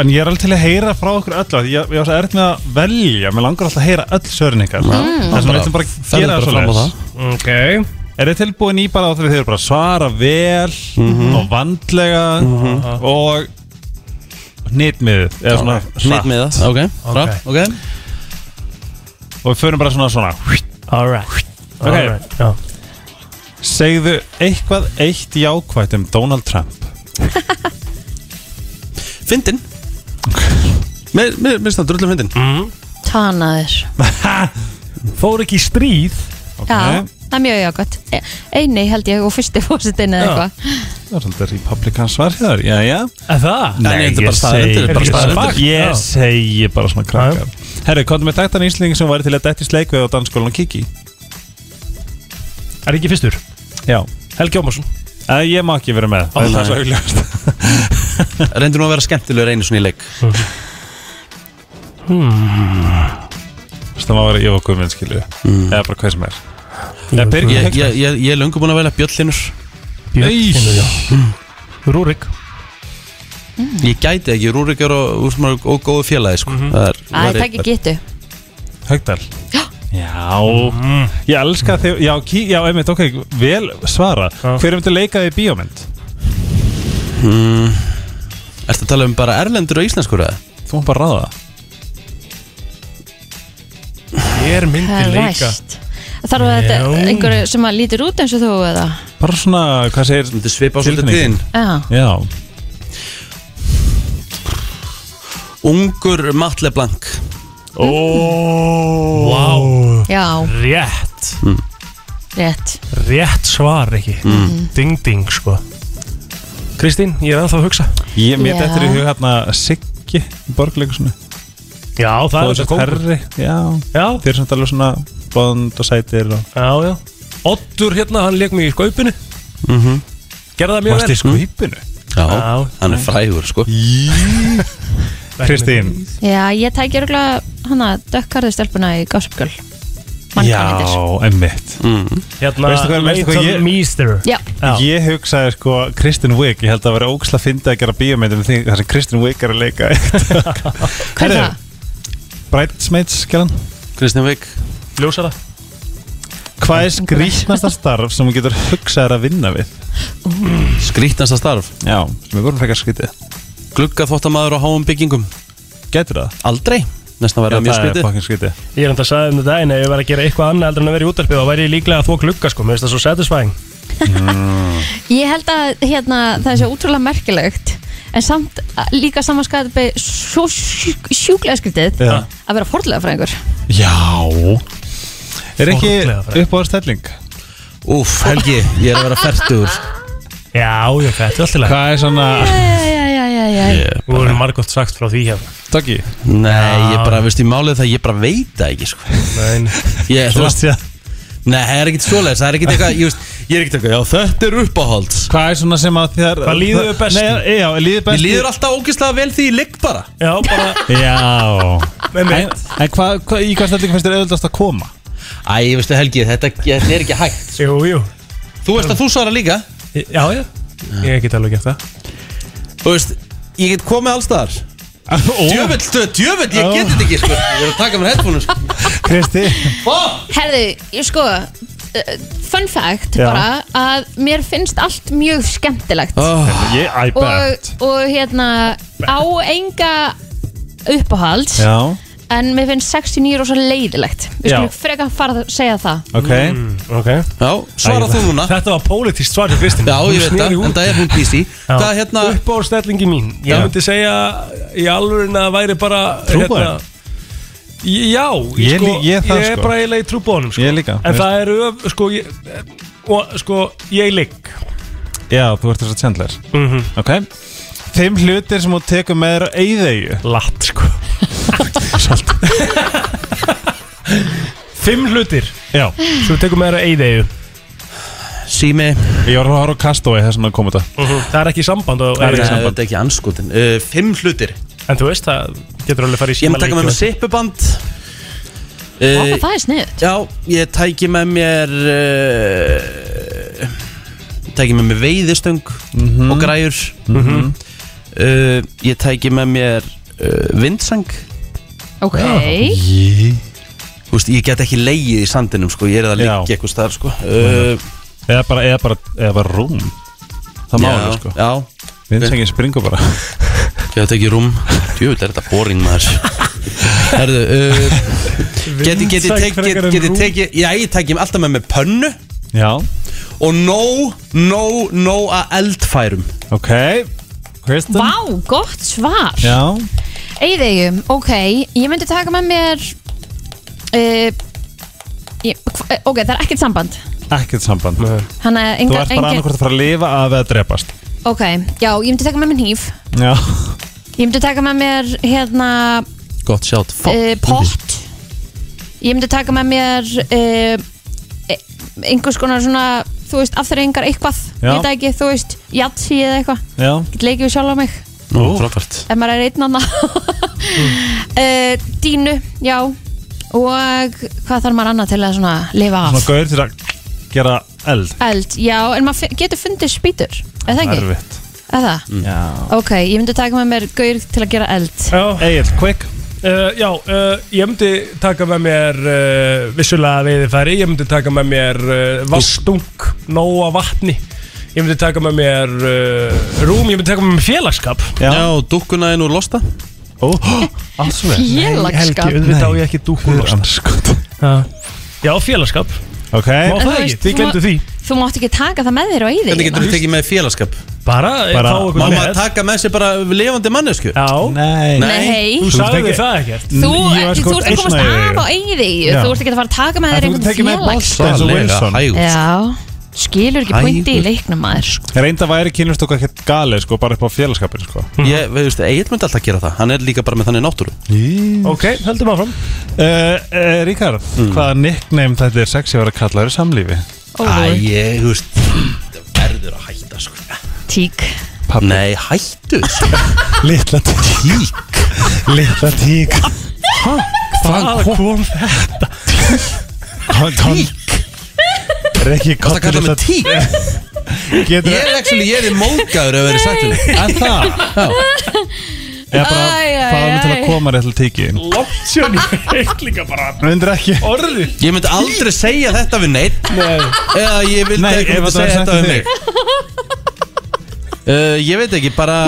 en ég er alveg til að heyra frá okkur öll af því Ég, ég var svo erfitt með að velja Mér langar alltaf að heyra öll svörin ykkar mm. Þess að við ætlum bara að Ferðu gera bara það fram á svo það. Ok Er þið tilbúin í bara á því að þið eru bara að svara vel Og vandlega Og Nýtmiðið Eða svona Nýtt með það Ok, Ok. frátt okay. Og við förum bara svona svona Alright Ok. Alright, já Segðu eitthvað eitt jákvætt um Donald Trump Fyndin Mér mér- mér finnst það drullum fyndin Tanaður Fór ekki í stríð Ok, Já, það er mjög jákvæmt E- Einni held ég og fyrsti fósitinn Já. eða eitthvað það er svolítið republikan svar hér Já, já Er það? Nei, þetta er bara staðarindir, þetta er bara staðarindir. Já. Ég segi bara svona krakkar Herru, komdu með þekktan íslending sem var til að dætt í sleikveið á dansskólan og kiki Er ekki fyrstur? Já Helgi Ómarsson Eða ég má ekki vera með Það er svo augljóst Reyndu nú að vera skemmtilegur einu svona í leik Það má vera ég og Guðmund skilju Mm. Eða bara hvað sem er Eða Birgir Ég, ég, ég, ég er löngu búin að velja sko. bjöllinur Björn Rúrik Ég gæti ekki, Rúrik er og, og, og, og góðu félagi sko. Mhm. Æ, mm það ekki getu Högdal Já Mm. Ég elska þig Já, kí, já einmitt, ok, vel svara Já. Hver myndi leika þig í bíómynd? Ertu að tala um bara erlendur og íslenskur eða? Þú má bara ráða Ég er Það myndi er leika ræst Þarf að þetta Já. einhverju sem að lítur út eins og þú eða Bara svona, hvað segir Þú myndir svipa á svolítið Tilfinning. tíðin Já, Já Ungur Matle Blank Ó Vá já, Rétt rétt Rétt svar ekki Mm. Ding ding sko Kristín, ég er ennþá að hugsa Ég mér Já. þetta er í hug hérna Siggi Borgleikusinu Já, það er Það er þessi þetta kókur herri Já Já, Þeir eru samt alveg svona bond og sætir og já, já Oddur hérna, hann leik mig í skaupinu Mhm. Gerða það mjög vel skvipinu? Já, Já. hann er frægur sko Kristín Já, ég tæki örgulega hana dökkarðu stelpuna í Gossip Girl Mannkalindir einmitt Hérna, Veistu hvað- veistu hvað Leighton ég- Meester Já, Já, Ég hugsaði sko Kristin Wiig Ég held að það vera ógslag fyndið að gera bíómyndum því þar sem Kristin Wiig er að leika hver er það? Bridesmaids, gerðan Kristján Vik ljósara Hvað er skrýtnasta starf sem þú getur hugsaðir að vinna við? Skrítnasta starf Já, sem er voru frekar skrýtið Glugga þóttamaður á háum byggingum Getur það? Aldrei Næstan verða mjög það er skrítið pakkin skrýtið Ég er enda að sagði um þetta en ef ég væri að gera eitthvað annað heldur en að vera í útarpið þá væri ég líklega að þvó glugga sko, mér finnst það svo satisfying Ég held að hérna, það er svo útrúlega merkilegt en samt að- líka samanskapi svo sjúk, sjúklega skriftið Já. að vera forlega fræðingur Já Er ekki Sorglega fræg. uppáðarstelling? Úf, Helgi, ég er að vera færtur Já, já, þetta er alltaf lægt Hvað er svona Þú erum margótt sagt frá því hér Takki Nei, ég bara, veist, ég málið það Ég bara veit það ekki sko Nein. Ég, þú veist, Hvað nei, það er ekkit svoleiðis Það er ekkit eitthvað, ég veist Ég er ekkit eitthvað, já, þetta er uppáhalds er svona sem að þér Hvað líður þér best í? Nei, já, líður Mér best í- líður alltaf ógislega vel því ég ligg bara Já, bara Já En, Einmitt. en hvað, hvað, í hvað stellingu finnst þér auðvitaðst að koma? Æ, veistu Helgi, þetta, þetta er ekki hægt Jú, jú Þú veist að þú svara líka Já, já Ég get alveg gert það Þú veist, ég get komið allstaðar Djöfull, djö- djöfull, ég get þetta ekki sko. Ég er að taka mér headphone sko. Kristi Herðu, ég sko eh, fun fact Já. bara að mér finnst allt mjög skemmtilegt Ég, I og, og hérna á enga uppáhalds Já, en mér finnst 69 og svo leiðilegt við Já. skulum frekar fara að segja það ok Ok Já, svara Æ, þú núna Hmm, Þetta var pólitískt svar til Kristín Já, ég veit það, en það er hún PC Hvað hérna, Uppáðstellingi mín Ég Já. myndi segja í alvörin að það væri bara hérna, Trúboðinn? Já, Ég lí- ég það, ég er sko. bara eiginlega í trúbónum sko. Ég líka, En veist. það er öf, sko ég, og, Sko, ég ligg Já, þú ert þess að tjendler Mhm. Ok Fimm hlutir sem þú tekur með þér á eyðeyju Latt sko Salt Fimm hlutir Já, Svo við tekum með þér að eyðeyju Sími ég var að horfa á Castaway þess að koma þetta Það er ekki samband og, Það er ekki Nei, samband. eh, þetta er ekki anskotin uh, Fimm hlutir En þú veist það getur alveg farið í Ég síma maður taka með mér sippuband uh, Vá, það er sniðut Já, ég tæki með mér uh, Tæki með mér veiðistöng Mhm. Og græjur uh, Ég tæki með mér uh, Vindsang Ok, Þú veist, ég get ekki leið í sandinum sko. Ég er að Já. liggja eitthvað staðar sko. uh, Eða bara, eða bara, eða bara rúm Það má já, alveg sko já, Vinsengin springur bara Ég tæki rúm Djúvill er þetta boring maður Herðu uh, Geti, geti, Vindsæng teki, frekar en geti rúm. teki Já, ég tæki alltaf með mér pönnu Já, Og nóg, nóg, nóg að eldfærum ok Kristen vá, gott svar Já, Eyðegjum, ok, ég myndi taka með mér uh, ég, hva- Ok, það er ekkert samband ekkert samband Þannig að Þú enga, ert bara engin, annarkvort að fara að lifa af eða drepast Ok, já, ég myndi taka með mér hníf Já, Ég myndi taka með mér hérna Gott sjátt Eh, uh, pott Ég myndi taka með mér uh, einhvers konar svona þú veist, afturrengar eitthvað Já. ég veit það ekki, þú veist, jatsi eða eitthvað já, get leikið við sjálf á mig Frábært ef maður er einn annað Mm. uh, Dínu, já og hvað þarf maður annað til að svona lifa svona af gaur til að gera eld eld, já, en maður fi- getur fundið spýtur eða það ekki, Erfitt Mm. eða það Já ok, ég myndi taka með mér gaur til að gera eld Já, Egil, quick Uh, já, uh, ég myndi taka með mér uh, vissulega veiðifæri, ég myndi taka með mér uh, vastung, nóa vatni ég myndi taka með mér uh, rúm, ég myndi taka með mér félagskap Já, Já, dúkkuna er nú losta ó, allsveg félagskap auðvitað á ég ekki dúkun Anskot Já, félagskap, Ok má En það þú ekki, veist, því þú glemdu því þú mátt ekki taka það með þér og í þig Hvernig getur þú tekið með félagskap? bara, Bara- bara fá Má eitthvað maður taka með sér bara lifandi mannesku? Já, Nei Nei, þú Þú sagði tekið- það ekkert þú, Ég var þú, ert sko að komast af einn af á eigið Já. Þú ert ekki að fara að taka með En þér þú getur einhvern tekið með félags bolta eins og Wilson hægur Já, skilur ekki Æ, pointi í guð. leiknum maður sko. Reynda væri kynlist okkur ekkert galið sko, bara upp á félagskapin sko Ég, við veist, Egil myndi alltaf gera það Hann er líka bara með þannig náttúru Ok, höldum áfram Uh, uh, Ríkard, hvaða nickname þetta er sexy að vera kallaður í samlífi? Ólúi, ég, þú veist Það verður að hætta, sko tík Nei, hættu sko. Litla tík Litla tík Hvað kom þetta? Tík Rikki, Varstu að kottu kalla mig tík? Getur Ég er actually, ég er mókaður að vera sagt til þig. En það? Já Ég bara, Æ, æ, fáðu mig til æ. að koma rétt til tíkin Lótt sjóni, eitthvað bara Myndir ekki orðið Ég myndi aldrei segja þetta við neitt Nei Eða ég vildi Nei, ekki ef myndi þetta var segja sagt þetta við við mig uh, Ég veit ekki, bara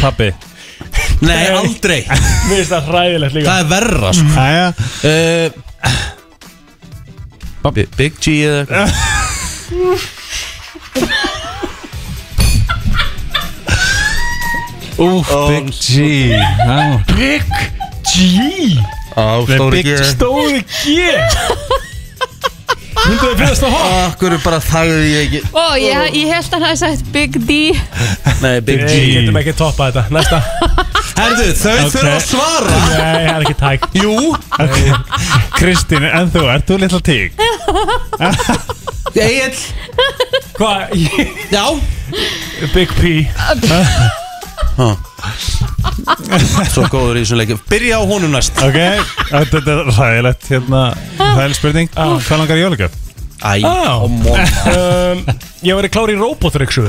Pappi Nei, aldrei Mér finnst það hræðilegt líka Það er verra, sko Æja uh, Bi- Big G eða eitthvað Úf, Big G Já Stóri G Stóri G Hundaði fyrðast á hótt Akkur bara þagði ég ekki Ó, ég, ég held að hann hafi sagt Big D Nei, Big Nei, G við getum ekki toppa þetta Næsta Herðu, þau þurfa að svara Nei, það er ekki tæk Jú Kristín, en þú, ert þú litla tík? Egil Hvað? Ég- Já Big P Svo góður í þessum leikum Byrja á honum næst Ok, þetta er ræðilegt hérna Ræðileg spurning Ah. Hvað langar í Oh, jólugjöf? Æ, Á. á morgun. Ah. um, Ég var í klári í robotryggsu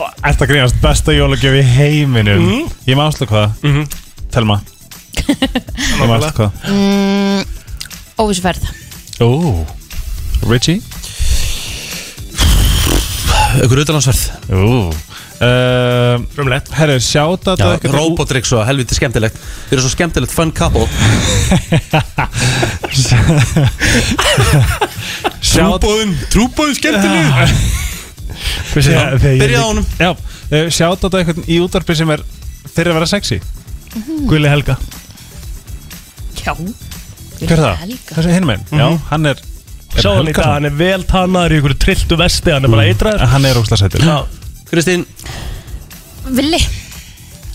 Þetta grínast besta jólugjöf í heiminum Mhm. Ég má afslu hvað Telma Ég má afslu hvað Óvissuferð Ó Richie Ykkur utanlandsverð Ú uh, Frumlegt Herru, sjáta Já, Robotrix og helviti skemmtilegt Þið eru svo skemmtilegt fun couple Sjáta trúbóðin skemmtileg Byrja á honum Já, uh, sjáta á eitthvað í útarpi sem er fyrir að vera sexy Gulli Helga Já Hver er það? Þessi hinn minn Já, hann er er Sá hann í Helga dag, hann er vel tannaður í ykkur trilltu Ah. vesti Hann er bara svona? eitraður Hann er ósla sættur Já, Kristín, Villi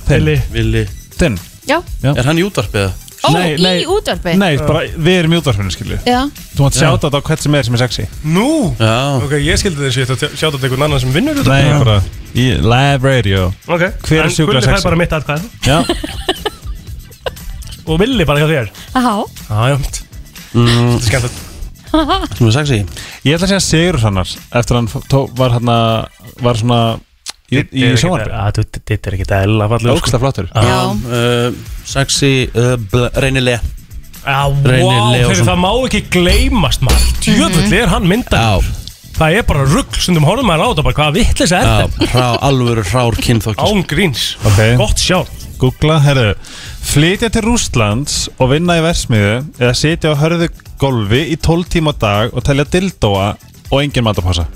Billy Vili Tinn Já, Er hann í útvarpið? ó, Nei, nei. í útvarpi Nei, bara, við erum í útvarfinu, skilju Já, Þú mátt sjáta þetta á hvern sem er sem er sexy Nú Já Ok, ég skildi þessu, ég ætla að sjá þetta einhvern annan sem vinnur út Nei, bara í Live radio Ok, Hver er sjúklega En Gulli sexy? fær bara mitt atkvæð Já, Og Villi bara hjá þér aha Já, já, mitt Þetta er skemmt Sem er sexy ég ætla að segja Sigur sannar Eftir hann tó, var hann Var svona Í, í sjónvarpi sjónvarpi Þetta Ah, er ekki dæla fallið Ógsta flottur Já, uh, Sexy uh, bl- Reynilega Já, Reynir wow, Leósson. fyrir það má ekki gleymast maður Tjöfull er hann myndar Það er bara rugg, stundum horfum maður á þetta bara hvaða vittlis er Já, þetta hrá, alvöru hrár kynþokkis Án gríns, Ok. gott sjá Googla, herru Flytja til Rústlands og vinna í versmiðu eða sitja á hörðu golfi í 12 tíma á dag og telja dildóa og engin matarpása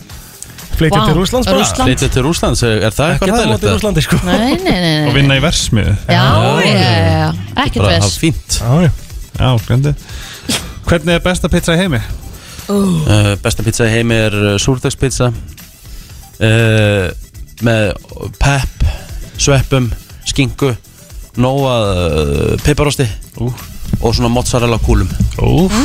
Flytja Vá, til Rúslands bara Rússland. Leitið til Rúslands, er það Ekki eitthvað það hæðilegt? mótið Rúslandi sko nei, nei, nei, og nei. vinna í versmiðu Já, já, já, já. ekkert Bara það veist fínt Já, já Já, glemdi Hvernig er besta pizza í heimi? uh, Besta pizza í heimi er uh, súrdagspizza uh, Með pepp, sveppum, skinku Nóa uh, piparosti Og svona mozzarella kúlum Úf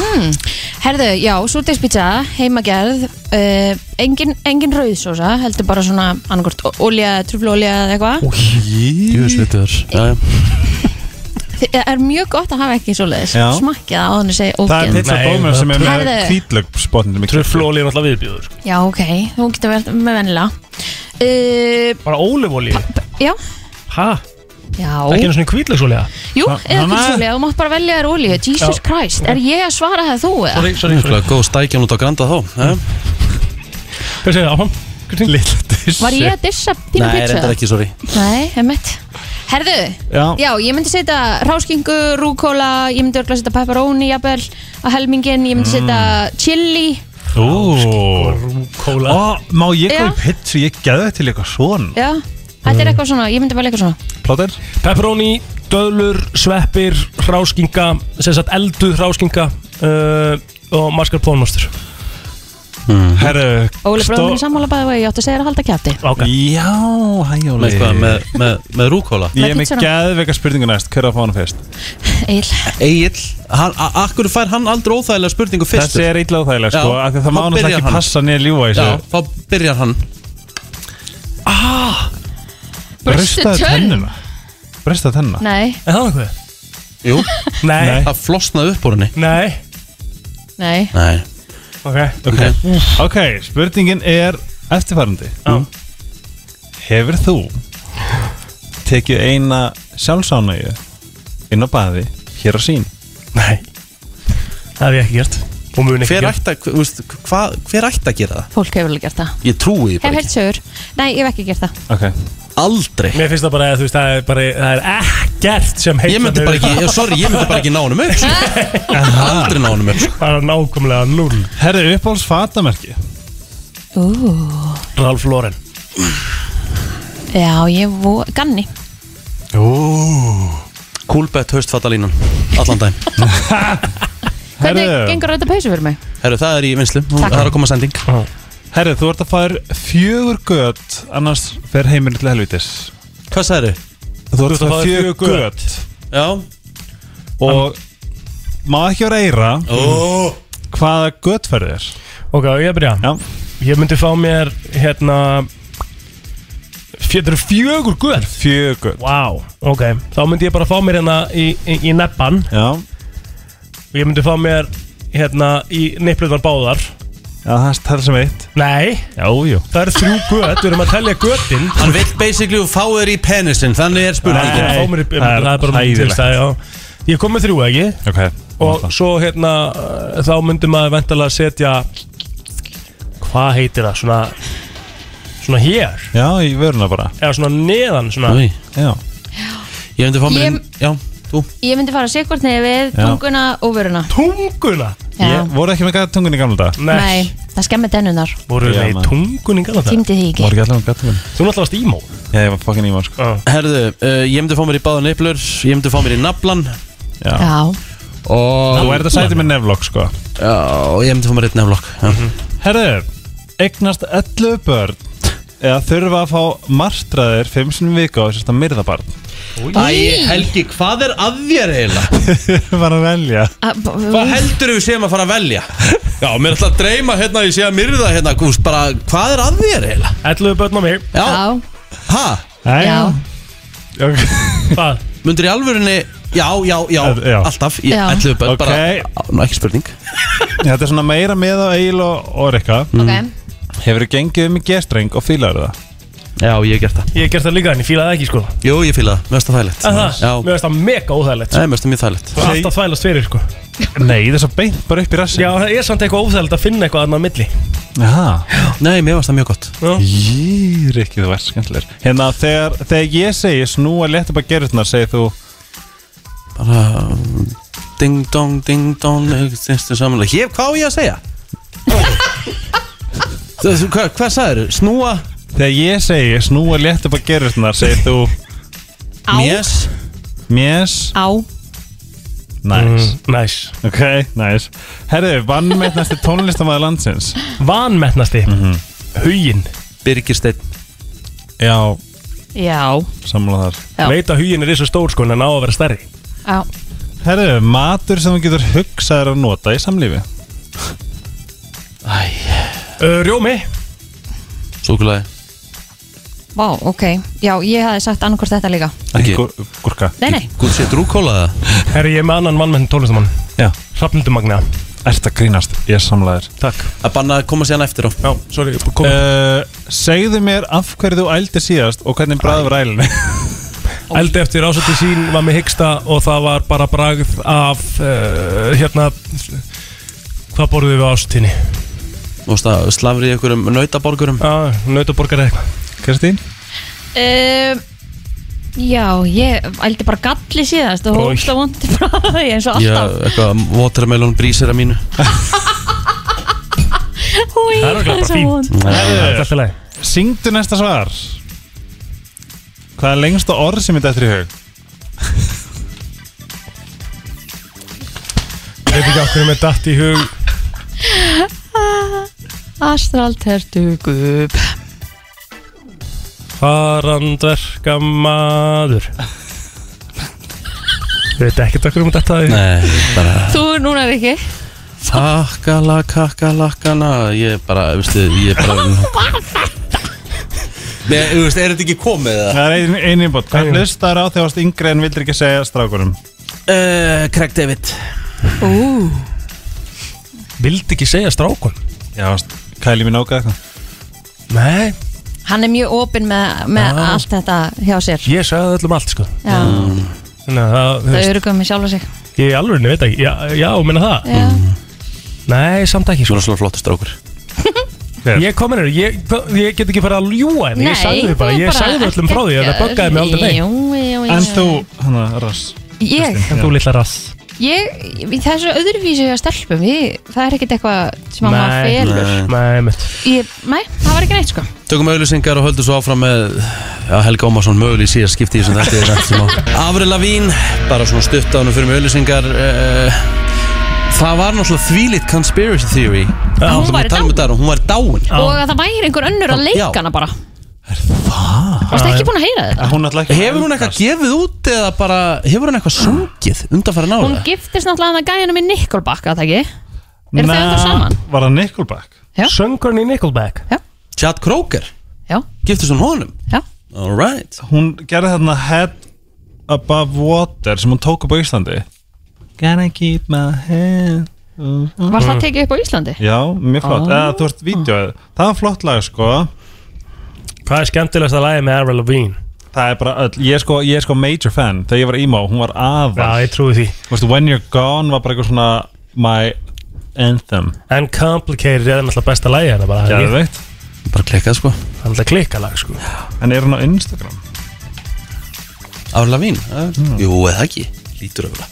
Herðu, já, súrdegspizza, heimagerð uh, engin, engin rauðsósa heldur bara svona annarkort olja, truflolja eða eitthvað Júsvitur Það e, er mjög gott að hafa ekki svoleiðis Já. smakkið á þannig segi Það er ógeð pizza Nei, bómur sem er með Herðu. kvítlögspotnum Trufflóli er náttúrulega viðbjóður sko. Já, ok, þú getur verið með vennilega uh, Bara ólifóli Já, Ha? já Ekki einu svona kvíðlegsólega Jú, Ha- eða hana- ekki svoleiða, þú mátt bara velja þér olíu Jesus Christ, er ég að svara það þú eða? Sorry, sorry, sorry Góð stækjan út á granda þá eh? Hvað segir það áfram? Lilla diss Var ég að dissa Nei, pínu pizza? reyndar ekki, sorry Nei, emmitt Herðu, Já. já, ég myndi setja ráskingu, rúkóla Ég myndi örgulega setja pepperoni, jafnvel Á helmingin, Mm. ég myndi setja chili Ó, Kóla má ég Já. koma í pizza? Ég geði til eitthvað svona Já, þetta Mm. er eitthvað svona, ég myndi velja eitthvað svona Plóter? Pepperoni, döðlur, sveppir, hráskinga Sem sagt elduð hráskinga uh, Og mascarpónmostur Herru Óli stó- bróðum minn er sammála bæði og ég átti að segja þér að halda kjafti Váka Já, hæjóli Með, hvað, með, með, með rúkóla Ég er Með með pizzuna. geðveika spurningu næst, hver er að fá hana fyrst? Egil, Egil, akkur fær hann aldrei óþægilega spurningu fyrst Þessi er illa á þægilega sko, Já, af því að það þá má náttúrulega byrjar ekki hann. passa niður ljúa í Já, þessu þá byrjar hann Burstu Rustaðu tönn. tennuna Bristaði tennuna nei, Er það eitthvað? Jú, Nei það flosnaði upp úr henni Nei nei Nei, Ok Ok, ok, spurningin er eftirfærandi Já. Hefur þú tekið eina sjálfsánægju inn á baði hér á sín? Nei Það hef ég ekki gert Og mun ekki hver gert ætti að, þú veist, hvað, hver ætti að gera það? Fólk hefur alveg gert það Ég trúi því Hef bara heilt ekki sögur Nei, ég hef ekki gert það Ok, Aldrei Mér finnst það bara að þú veist Það er bara Það er ekkert sem heitla Ég myndi bara ekki, ég, sorry, ég myndi bara ekki ná honum upp sko. Aldrei ná honum upp sko. Bara nákvæmlega null herri uppáhalds fatamerki Ralf Lauren Já, ég vo... Ganni Coolbet haustfattalínan, allan daginn Hvernig Herðu. gengur þetta peysu fyrir mig? Herru, það er í vinslu, það er að koma sending Herri, þú ert að fara fjögur gött annars fer heimurinn til helvitis Hvað sagði Þú ert að fara fjögur fjögur gött Já og má ekki vera eira oh. hvaða gött ferði þér Ok, á ég að byrja Já, Ég myndi fá mér hérna Fjöður fjögur guð fjögur gött Vá, ok Þá myndi ég bara fá mér hérna í, í, í neppan Já, Og ég myndi fá mér hérna í nipplutnar báðar já, það er það sem eitt Nei, Já, jú það eru þrjú guð Við erum að telja guðin Hann vill basically fá þér í penisinn, þannig er spurningin Fá mér í, það er það er bara hræðilegt. til stæði Ég kom með þrjú, ekki? Ok, Og svo hérna uh, Þá myndi maður ventalega setja Hvað heitir það? Svona Svona hér Já, í vöruna bara Eða svona neðan svona Nei, Já, Ég myndi fá mér Ég- inn, já, þú Ég myndi fara sikkvort niður við Já. tunguna og vöruna Tunguna Já Ég, voru ekki með gattungun í gamla dag Nei, það skemmir tennunar Voru Já, við maður. tungunni gala það? Týmdi því ekki Voru ekki allavega með gattungun Þú náttúrulega varst ímó Já, ég var fokkin ímá sko Herðu, uh, ég myndi fá mér í báðan neflur Ég myndi fá mér í naflan Já, Já, Og þú er þetta sætið með neflokk sko Já, ég myndi fá mér einn nefnlokk Herðu, eignast 11 börn eða þurfa að fá martraðir 5 sinni í viku á þessast að myrða barn Æ, Helgi, hvað er að þér eiginlega? Bara að velja Ah, Hvað Hvað heldur við séum að fara að velja? Já, mér er alltaf að dreyma hérna, ég sé að myrða hérna, gúst, bara, hvað er að þér eiginlega? 11 börn á mig Já, Já, hæ? Nei, já, ok. Hvað? Mundur í alvörunni, já, já, já, Eh, já. alltaf, ég Já. ætluðu bara, Ok. bara, ná, ekki spurning. Þetta er svona meira með á Egil og, og Rikka Hmm. ok Hefur þú gengið um í gerstreng og fílar það? Já, ég hef gert það. Ég hef gert það líka en ég fílaði það ekki sko að Jú, ég fíla það, mér finnst það þægilegt. Það, mér Já, finnst það mega óþægilegt sko. Nei, mér finnst það mjög þægilegt. Það er alltaf þvælast fyrir sko Nei, þess að beint bara upp í rassin Já, það er samt eitthvað óþægilegt að finna eitthvað annað á milli Já Nei, mér finnst það mjög gott. Jí, Rikki, þú ert skemmtilegur Hérna, þegar, þegar ég segi snúa létt upp að gerðnar segir þú Bara, ding dong, ding dong, þinstu samanlega. Hér, hvað á ég að segja? Þú- þú- Hvað, hvað sagður? Snúa? Þegar ég segi snúa létt upp að gerðnar segir þú Á, Mjess? Mjess á, Næs Næs Ok, næs Herðu, vannmeitnasti tónlistamæður landsins Vanmetnasti Huginn Birgirsteinn. Já, já, sammála þar Já. Veit að huginn er þessu stór sko en hann á að vera stærri á Herðu, matur sem þú getur hugsaður að nota í samlífi Ö, Uh, Rjómi Súkulæði. Vá, ok, já, ég hafði sagt annarkvort þetta líka Ekki. Gúr- Gúrka Nei, nei, Gútt sér drúkólaða? Herri, ég er með annan mann með tónlistamannum Já Hrafnundumagna Ert að grínast, ég samlaðir Takk Að banna að koma síðan eftir á Já, sorry, kom Eh, uh, Segðu mér af hverju þú ældi síðast og hvernig bræður ælunni Uh, Eldi eftir ásætti sín var með hyggsta og það var bara bragð af uh, hérna hvað borðum við á ásættinni? Þú veist að slafri í einhverjum nautaborgurum Ah, Nautaborgar eða eitthvað Kristín? um, já, ég ældi bara galli síðast og Oj. hókst að vondi frá því eins og Já, alltaf eitthvað watermelon brísir að mínu Húi, Það er örugglega bara fínt. vond Það er alltaf leið Syngdu næsta svar Hvað er lengsta orð sem ég dættir í hug? Ég veit ekki okkur með datt í hug Astraltertugub farandverka maður Ég veit ekkert okkur með datt að því Nei, bara Þú núna er ekki Takkala, kakkalakkana Ég bara, veistu, ég bara Nei, þú veist, er þetta ekki komið eða? Það er ein, einin bótt Hvað Einin. hlustar á þegar þú varst yngri en vildir ekki segja strákunum? Uh, Craig David Ú, Vildi ekki segja strákun? Já, veist, kæli mín ákað eitthvað Nei, hann er mjög opinn með, með allt þetta hjá sér ég sagði öllum allt sko Já, Þannig að það, þú það veist, eru komið sjálfa sig ég alveg veit ekki, já, já, minna það Já, Nei, samt ekki Þú sko er svona flottur strákur Ég kom hennar, ég, ég get ekki fara að ljúa henni Ég sagði þið bara, þú ég sagði öllum frá því að það ekkert buggaði mig aldrei Jú, jú, jú En þú, hana, rass Ég, En þú litla rass ég, ég- það er svo öðruvísu að stelpum ég, Það er ekkert eitthvað sem að maður Nei, felur Nei, mitt Ég, nei, það var ekki neitt sko Tökum auðlýsingar og höldum svo áfram með já, Helga Ómarsson möguleg síðar skipti í þessum þetta er eftir smá. Avril Lavín, bara svona stutt á hann fyrir með auðlýsingar uh, Það var náttúrulega þvílitt conspiracy theory Að hún Sem væri við talum dáin. um þetta, Hún var dáin Og að það væri einhver önnur að leika Já. hana bara Er það? Varst ekki búin að heyra þetta? Hún ætla ekki Hefur hún eitthvað gefið út eða bara Hefur hún eitthvað sungið undanfæra Hún náða? giftist náttúrulega að gæjanum í Nickelback, að það ekki? Eru þau ennþá saman? Var það Nickelback? Já. Söngurinn í Nickelback Chad Kroger, Já, giftist hún honum já Alright Hún gerði þarna Head Above Water sem hún tók upp á Íslandi Gotta keep my head Var Mm. það tekið upp á Íslandi? Já, mjög flott Eða, Þú veist, vídjóið Það var flott lag, sko Hvað er skemmtilegast að lægi með Avril Lavigne? Það er bara öll, ég er sko, ég er sko major fan Þegar ég var emo, hún var Já, aðal ég trúi því Þú veist, When You're Gone var bara eitthvað svona My anthem Uncomplicated er náttúrulega besta lægi hennar bara Já, Það er veit Bara klikkað sko náttúrulega klikkalag sko En er hún á Instagram? Árla mín, mm. jú eða ekki Lítur öfla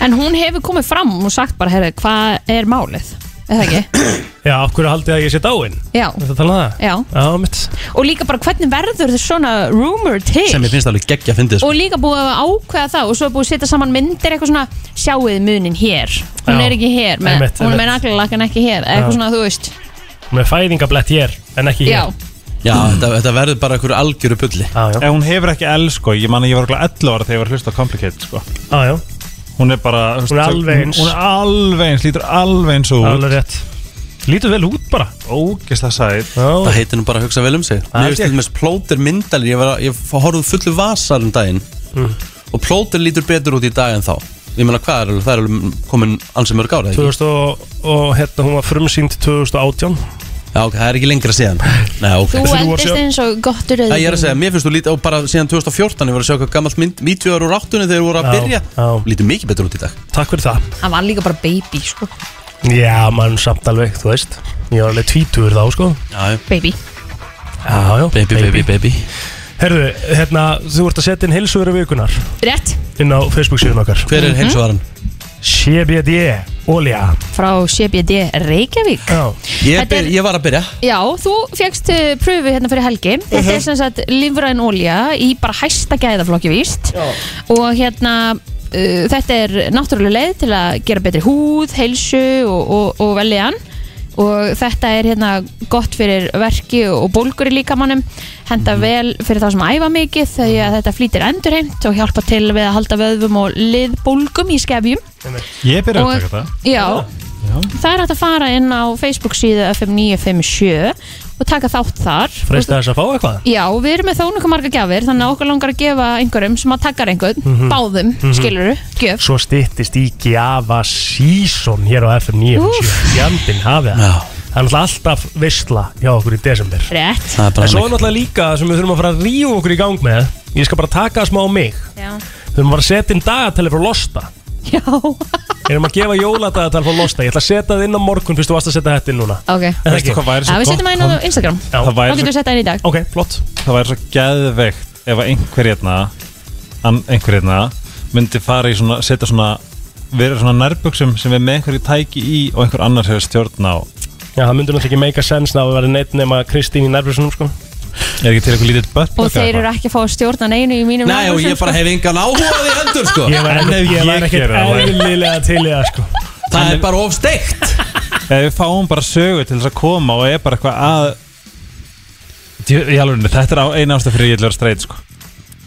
En hún hefur komið fram og sagt bara, herri, hvað er málið? Er það ekki? Já, af hverju haldið að ég sé dáinn? Já, Þetta talaði það? já Já, mitt Og líka bara, hvernig verður þetta svona rumor til? Sem ég finnst alveg geggja að fyndið og sko. líka búið að ákveða það og svo er búið að setja saman myndir eitthvað svona sjáuð munin hér Já. hún er ekki hér, með, Einmitt, hún er einmitt. með naglalakan ekki hér eða eitthvað svona þú veist, Með fæðingablett hér, en ekki já hér Já, þetta, þetta verður bara einhverju algjöru bulli Já, já, En hún hefur ekki L sko, ég man að ég var okkur 11 ára þegar ég var að hlusta á Complicated sko já, já, Hún er bara Hún er alveg eins. Hún er alveg eins, lítur alveg eins út alveg rétt Lítur vel út bara Ógist það sæt Já, Það heitir nú bara að hugsa vel um sig held Mér finnst ég. til dæmis plóter myndalir Ég, var að- ég horfði fullu vasar um daginn Hmm. Og plóter lítur betur út í dag en þá Ég meina hvað er alveg, það er alveg komin ansi mörg ára 2000 og, og hérna hún var frumsýnd 2018 Já, ok, það er ekki lengra síðan Nei, ok Þú Þrjú ár eldist síðan. eins og gottur Það ég Mhm. er að segja, mér finnst þú lítið, og bara síðan 2014 ég var að sjá hvað gammalt mynd, 90 ára úr áttunni þegar þú voru að Já, byrja, já. lítið mikið betur út í dag Takk fyrir það Hann var líka bara baby, sko Já, mann samt alveg, þú veist Ég var alveg tvítur þá, sko Já, já. Baby Já, já, baby, baby, baby Herðu, hérna, þú ert að setja inn heilsuveru vikunar Rétt inn á Facebook síðan okkar Hver er heilsuvaran? CBD, olja Frá CBD Reykjavík Já, Ég, Þetta er- byr, ég var að byrja Já, þú fegst pröfu hérna fyrir helgi Þetta er sem sagt livræn olja í bara hæsta gæðaflokki víst Já. og hérna uh, þetta er náttúrulega leið til að gera betri húð, heilsu og, og, og veljan og þetta er hérna gott fyrir verki og bólgur í líkamannum henda vel fyrir þá sem æfa mikið þegar þetta flýtir endurheimt og hjálpa til við að halda vöðvum og liðbólgum í skefjum Ég byrja að Og- taka það Já, það er hægt að fara inn á Facebook síðu FM957 og taka þátt þar freista þess að fá eitthvað Já, við erum með þó nokkuð marga gjafir þannig að okkur langar að gefa einhverjum sem að takkar einhvern, báðum, mm -hmm. skiluru gjöf, Svo styttist í Gjafa Season hér á FM 957 Fjandinn hafið það Já, Það er náttúrulega alltaf veistla hjá okkur í desember rétt það er En bara svo er hann náttúrulega líka sem við þurfum að fara að rífa okkur í gang með Ég skal bara taka það smá á mig Já, Við þurfum bara að setja inn dagatæli frá Losta Já. Við erum að gefa jóladagatal frá Losta Ég ætla að setja það inn á morgun fyrst þú varst að setja þetta inn núna ok En Veistu ekki hvað væri Já, svo við setjum gott það inn á Instagram Já. Það Þá væri getum svo, við setjað inn í dag Ok, flott það væri svo geðveikt ef að einhver hérna an- einhver hérna myndi fara í svona, setja svona vera svona nærbuksum sem við með einhverju tæki í og einhver annar hefur stjórn á Já, það myndur náttúrulega ekki meika sens ná að vera neitt nema Kristín í nærfjössunum sko er ekki til eitthvað lítið bött Og þeir eru ekki að fá að stjórna neinu í mínum Nei, og nærbuxum, ég bara hef engan áhuga á því heldur sko Ég var, En ef ég ég var ekkert geri það, væri- eðlilega til í það sko Það er bara of steikt Ef við fáum bara sögu til þess að koma og er bara eitthvað að Djú- í alveg, þetta er á eina ástæð fyrir ég ætla að vera streit sko.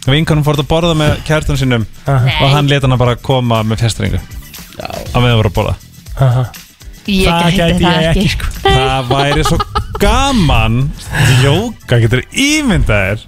Vinkanum fór þetta að borða með kærtunum sínum og hann leta hana bara koma með fjastringu á meðan voru að borða Ég Það gæti gæti það ég ekki ekki sko Það væri svo gaman Jóka getur ímyndað þér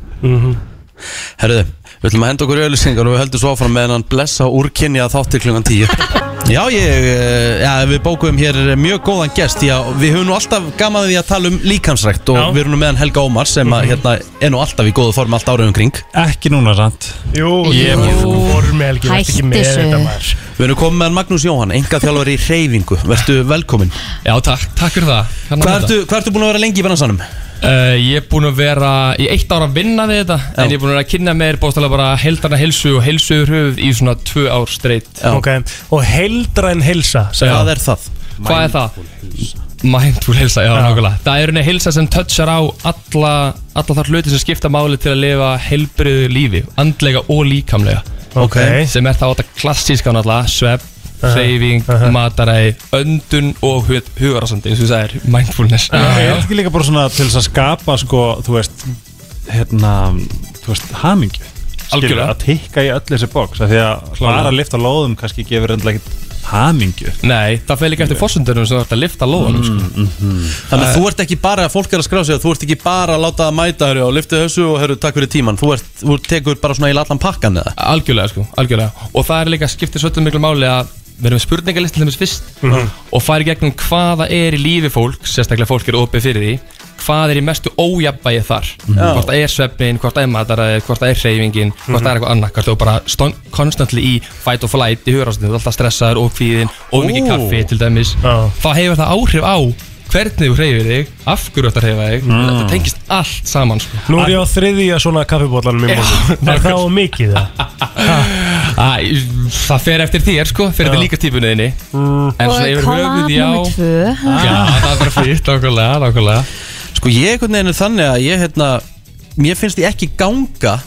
Herruðu, við ætlum að henda okkur í öllusingar og við höldum svo áfram með hann blessa úrkynni að þáttir klungan 10 Já, ég, eh, já, við bókuðum hér mjög góðan gest því að við höfum nú alltaf gaman af því að tala um líkansrækt og Já. við erum nú með hann Helga Ómar sem að, hérna, er nú alltaf í góðu form allt árið um kring Ekki núna sant Jú, Ég- ég voru með helgi vertu ekki með Hættu þessu. þetta, maður. Við erum komið með hann Magnús Jóhann, enga þjálfur í reyfingu Vertu velkomin Já, takk, takk fyrir það Hérna Hvað er ertu, hvað ertu búin að vera lengi í bransanum? þetta? Uh, ég er búin að vera í eitt ára að vinna við þetta En ég er búin að vera að kynna mér bóðstæðlega bara heldarna helsu og helsu yfir höfuð í svona tvö ár streitt Já. Ok, og heldræn hilsa sagði Hvað er það? Hvað er það? Mindful helsa, já, nákvæmlega Það er henni helsa sem touchar á alla, alla þar hluti sem skipta máli til að lifa helbriðu lífi Andlega og líkamlega Ok, Sem er þá þetta klassíska náttúrulega Svepp, Aha, hreyfing, aha. mataræði, öndun og hugarasandi eins og það er mindfulness Það er ekki líka bara svona til þess að skapa sko, þú veist hérna, þú veist, hamingju Skilur, Algjörlega. að tikka í öll þessi bóks af því að bara að lifta lóðum kannski gefur endilega ekkit hamingju Nei, það fer líka eftir fórsöndunum sem þú ert að lifta lóðanum sko. Þannig að þú ert ekki bara, fólk er að skrá sig þú ert ekki bara að láta það mæta herru og lyfta þessu og herru, takk fyrir tíman þú, ert, þú tekur bara svona í allan pakkan eða Algjörlega sko, algjörlega Og það er líka skiptir svolítið miklu máli að við erum með spurningalist til þeimis fyrst og fara í gegnum hvaða er í lífi fólk sérstaklega fólk er opið fyrir því hvað er í mestu ójafnvægi þar hvort það er svefnin, hvort það er mataræði hvort það er hreyfingin, hvort það er eitthvað annað hvort þú er bara stón, constantly í fight og flight í hugurásnum, þú er alltaf stressaður og kvíðin og mikið kaffi til dæmis Já. þá hefur það áhrif á hvernig þú hreyfir þig af hverju þetta hreyfa þig þetta tengist allt saman sko. nú er ég á þriðja svona kaffibólanum í morgun Er það á mikið það? Æ, það fer eftir þér sko, fer eftir líka típunniðinni En svona Og yfir kollab höfuð, já nummer tvö Já, það er bara fýtt, nákvæmlega, nákvæmlega Sko ég einhvern veginn er þannig að ég hérna Mér finnst ég ekki ganga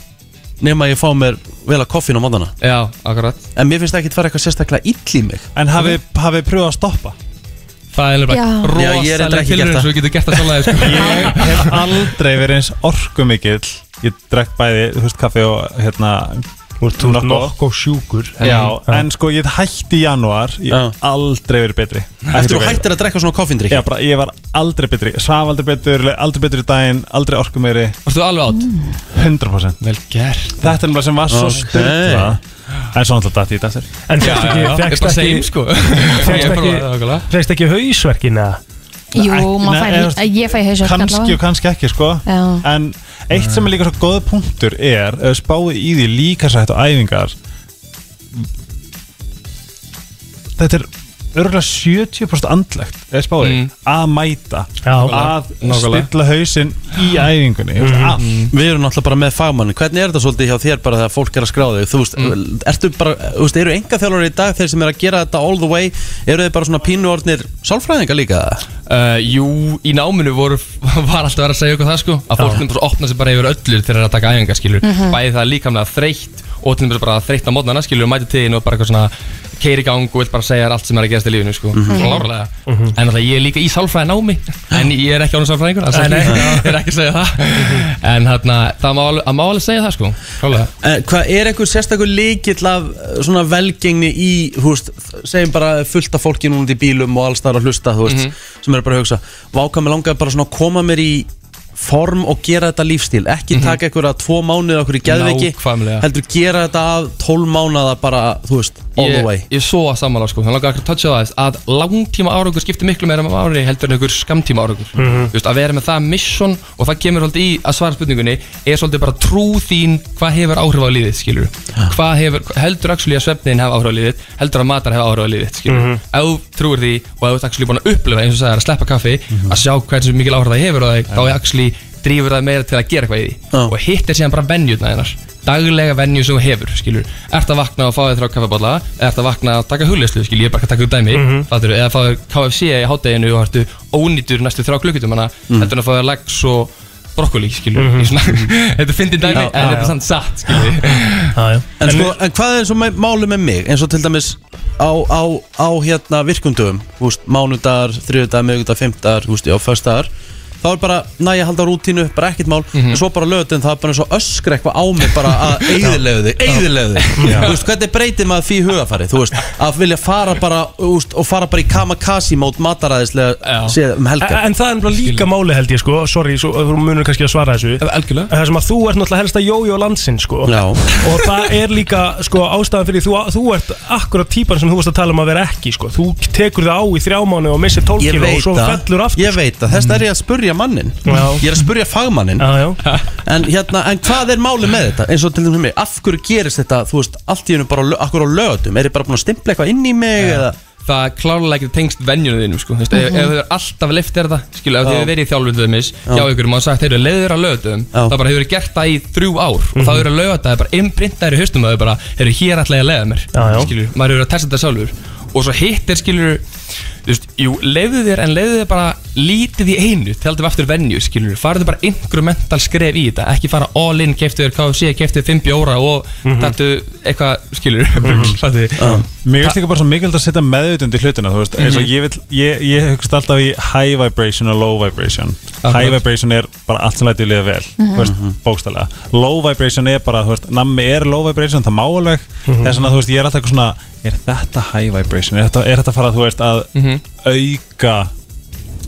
nema að ég fá mér vel að koffin á móðana Já, akkurat En mér finnst ekki það fara eitthvað sérstaklega ill í mig En hafið hafið pröfað að stoppa Það er Já. bara Já, ég er reyndar rosalega ekki gert tilröðin það. svo við getum gert það sjálf sko. Ég hef aldrei verið eins orku mikill Ég drekk bæði, þú veist, kaffi og hérna Þú ert nokk og sjúkur Já, Já. en sko ég hætti í janúar Ég hef aldrei verið betri Eftir þú hættir að drekka svona koffindrykk Já, bara, ég var aldrei betri Svaf aldrei betur, aldrei betur í daginn Aldrei orku meiri Varstu alveg átt? 100% Vel gert Þetta er náttúrulega sem var svo Ok. okay. styrla En svo náttúrulega dætti ég dættir En fékkst Já, ekki, já, fékkst bara ekki same, sko. Ég Fékkst er bara- ekki, nákvæmlega. fékkst ekki hausverkina Jú, Nei, maður nei, þú fær, veist, ég fæ hausverk Kanski og allavega. kannski ekki, sko Já. En eitt sem er líka svo góð punktur er Ef við spáði í því líka sætt og æfingar Þetta er örgulega 70% andlegt Ef við spáði Mm. Að mæta Já. Að Nákvæmlega. stilla hausinn í æfingunni mm -hmm. Allt Við erum náttúrulega bara með fagmanni Hvernig er þetta svolítið hjá þér bara þegar fólk er að skrá þig Þú veist, ertu bara, þú veist, eru enga í dag Þeir sem er að gera þetta all the way Eru þið bara svona pínuornir sálfræðinga líka Uh, jú, í náminu voru, var alltaf verið að segja okkur það sko Að fólk nefnir bara opna sig bara yfir öllu þegar það er að taka æfingar skilur Bæði það líkamlega þreytt og til nefnir bara þreytt á mótnana skilur Mæti tíðin og bara eitthvað svona keiri gang og vill bara segja þér allt sem er að gerast í lífinu sko Klárlega En alltaf ég er líka í sálfræði námi En ég er ekki ánum sálfræðingur, það segir ég er ekki að segja það En þarna, það má alveg- það má alveg segja það sko Klárlega En Eh, Hvað er einhver sérstakur líkill af eh, svona velgengni í, þú veist, segjum bara fullt af fólki núna út í bílum og alls þar að hlusta, þú veist, sem eru bara að hugsa, váka mig langaði bara svona að koma mér í form og gera þetta lífstíl, ekki taka einhverja tvo mánuði okkur í geðviki, Nákvæmlega. heldur gera þetta að tól mánuða bara, þú veist, all the way. ég, ég svo að samanlá sko, þannig langar ekki að toucha á það að langtíma árangur skiptir miklu meira um ári heldur en einhver skamtíma árangur Þú veist, að vera með það mission og það kemur svolítið í að svara spurningunni er svolítið bara trú þín hvað hefur áhrif á lífið skilur hvað hefur, heldur actually að svefnin hefur áhrif á lífið heldur að matar hefur áhrif á lífið skilur ef þú trúir því og ef þú ert actually búin að upplifa eins og sagði að sleppa kaffi að sjá hversu mikil áhrif það hefur á þig þá er actually drýfur það meira til að gera eitthvað í því Já. og hitt er síðan bara venjurna hennar daglega venjur sem þú hefur, skilur ert að vakna og fá þér þrjá kaffabólla ert að vakna að taka hugleyslu, skilur, ég er bara að taka upp dæmi mm eða fá þér KFC í hátteginu og ertu ónýtur næstu þrjá klukkutum hana mm. heldur en að fá þér lags og brokkoli, skilur mm -hmm. þetta finnir dæmi, en þetta er samt satt sko. skilur En, sko, en hvað er svo mæ- málið með mig? Eins og til dæmis á, á, á hérna virkundum veist, Mánudar, þriðudar, miðugudar, fymtar Þú veist, já, föstaðar Þá er bara, næ, ég halda rútínu, bara ekkert mál Mhm. En svo bara lögutin, það er bara eins og öskra eitthvað á mig Bara að eigðilegu þig, eigðilegu þig Þú veist, hvernig breytir maður því hugafari? Þú veist, að vilja fara bara þú veist, Og fara bara í kamakazi mót mataræðislega Já. séð um En helgar en það er nefnilega líka máli held ég sko Sorry, svo, þú munur kannski að svara þessu algjörlega Það sem að þú ert náttúrulega helsta jójó landsinn sko Já. Og það er líka sko ástæðan fyrir þú, þú ert akkurat típan sem þú varst að tala um að vera ekki sko Þú tekur það á í þrjá mánu og missir Ég tólkið og veit svo fellur aftur að, sko. ég veit að, þess er ég að spurja mannin Já. Ég er að spurja fagmannin Já, já En hérna, en hvað er málið með þetta? Eins og til dæmis með, af hverju gerist þetta, þú veist, allt í hennu bara, á lö- af hverju á lögatum? Er ég bara búin að stimpla eitthvað inn í mig eða? það er klárlega ekki tengst venjunum þínum sko. Þú veist, Mhm. ef, ef þau eru alltaf leift er það skilu, ef þau hefur verið í þjálfun til þeimis hjá ykkur og maður sagt, heyrðu, leiðu þér að lögutum Já. það bara hefur verið gert það í þrjú ár og Mhm. þá eru lögutum bara innbrindaður í haustum að þau bara, heyrðu, hér ætla ég að leiða mér Já, já. skilu, maður hefur verið að testa þetta sjálfur og svo hitt er skilur þú veist, jú, leiðu þér en leiðu þér bara lítið í einu, tjaldum aftur venju skilur, farðu bara incremental skref í þetta ekki fara all in, keftu þér KFC, keftu þér 5 bjóra og mm Mhm. eitthvað skilur, mm -hmm. Mér finnst líka bara svo mikilvægt að setja meðutund í hlutina þú veist, eins Mhm. og ég, vil, ég, ég hugst alltaf í high vibration og low vibration Akkurat. Mhm. High vibration er bara allt sem lætur liða vel þú veist, bókstælega Low vibration er bara, þú veist, nammi er low vibration það má alveg, Mhm. þess vegna, þú veist, ég er alltaf eitthvað svona, er þetta high vibration? Er þetta, er þetta að fara, þú veist, að Mhm. auka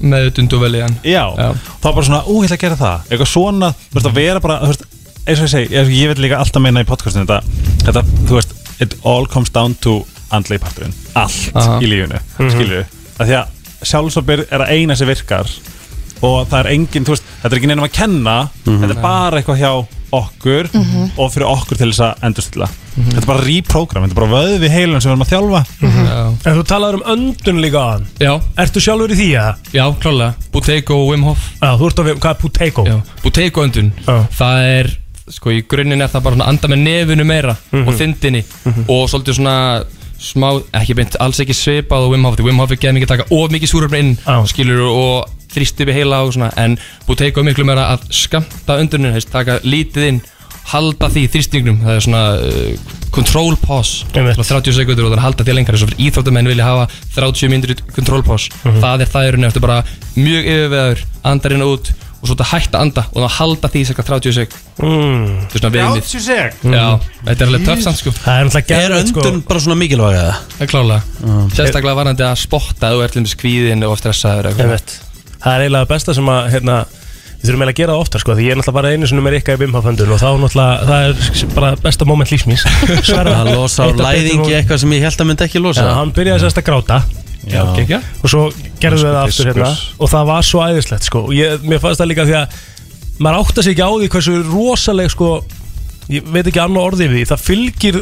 meðutund og veljan Já, Já. Mhm. þá bara svona, ú, ég ætla að gera það eitthvað svona, þú veist, að vera bara þú veist, eins og ég segi, ég, ég vil líka alltaf meina í podcastinu þetta, þetta, þú veist it all comes down to andlei parturinn allt Aha. Mhm. í lífinu, mm -hmm. skilju að því að sjálfsopir er að eina sem virkar og það er engin, þú veist þetta er ekki neinum að kenna, Mhm. þetta er bara eitthvað hjá okkur og fyrir okkur til þess að endurstilla, Mhm. þetta er bara reprogram þetta er bara vöðvi heilun sem við erum að þjálfa Já. En þú talaður um öndun líka aðan Já, Ertu sjálfur í því að? já, klálega Buteyko og Wim Hof Já, þú ert að við, hvað er Puteiko? Já. Buteyko öndun Já. Það er, sko, í grunninn er það bara svona anda með nefinu meira og þindinni og svolítið svona smá, ekki beint, alls ekki svipað og Wim Hof því Wim Hof er geðið mikið að taka of mikið súröfni inn Já. skilur og þrýst upp í heila og svona en Buteyko er miklu meira að skamta öndunum, heist, taka lítið inn halda því þrýstingnum það er svona uh, control pause svona 30 sekundur og það er að halda því lengar þess að íþróttamenn vilja hafa 30 myndir control pause það er það er nefnir bara mjög yfirveður andarinn út og svo þetta hætta að anda og það halda því cirka 30 sek mm. þetta er svona viðmið 30 sek? já, þetta er alveg töff samt sko það er náttúrulega Er geðveikt, sko. öndun bara svona mikilvæg eða? það er klálega sérstaklega varandi að spotta ef þú ert limis kvíðin og stressaður eða eitthvað. Einmitt. Það er eiginlega besta sem að hérna, við þurfum eiginlega að gera það ofta sko, því ég er náttúrulega bara einu sinni með Rikka í Bimhaföndun og þá náttúrulega, það er bara besta moment lífsmís Hann losar úr læðingi eitthvað sem ég held að myndi ekki losa. Já, hann byrjaði sérst að gráta Já, gekkja. Og svo gerðum við það aftur Fiskur. hérna og það var svo æðislegt sko og ég, mér fannst það líka því að maður átta sig ekki á því hversu rosaleg sko ég veit ekki annað orðið við því, það fylgir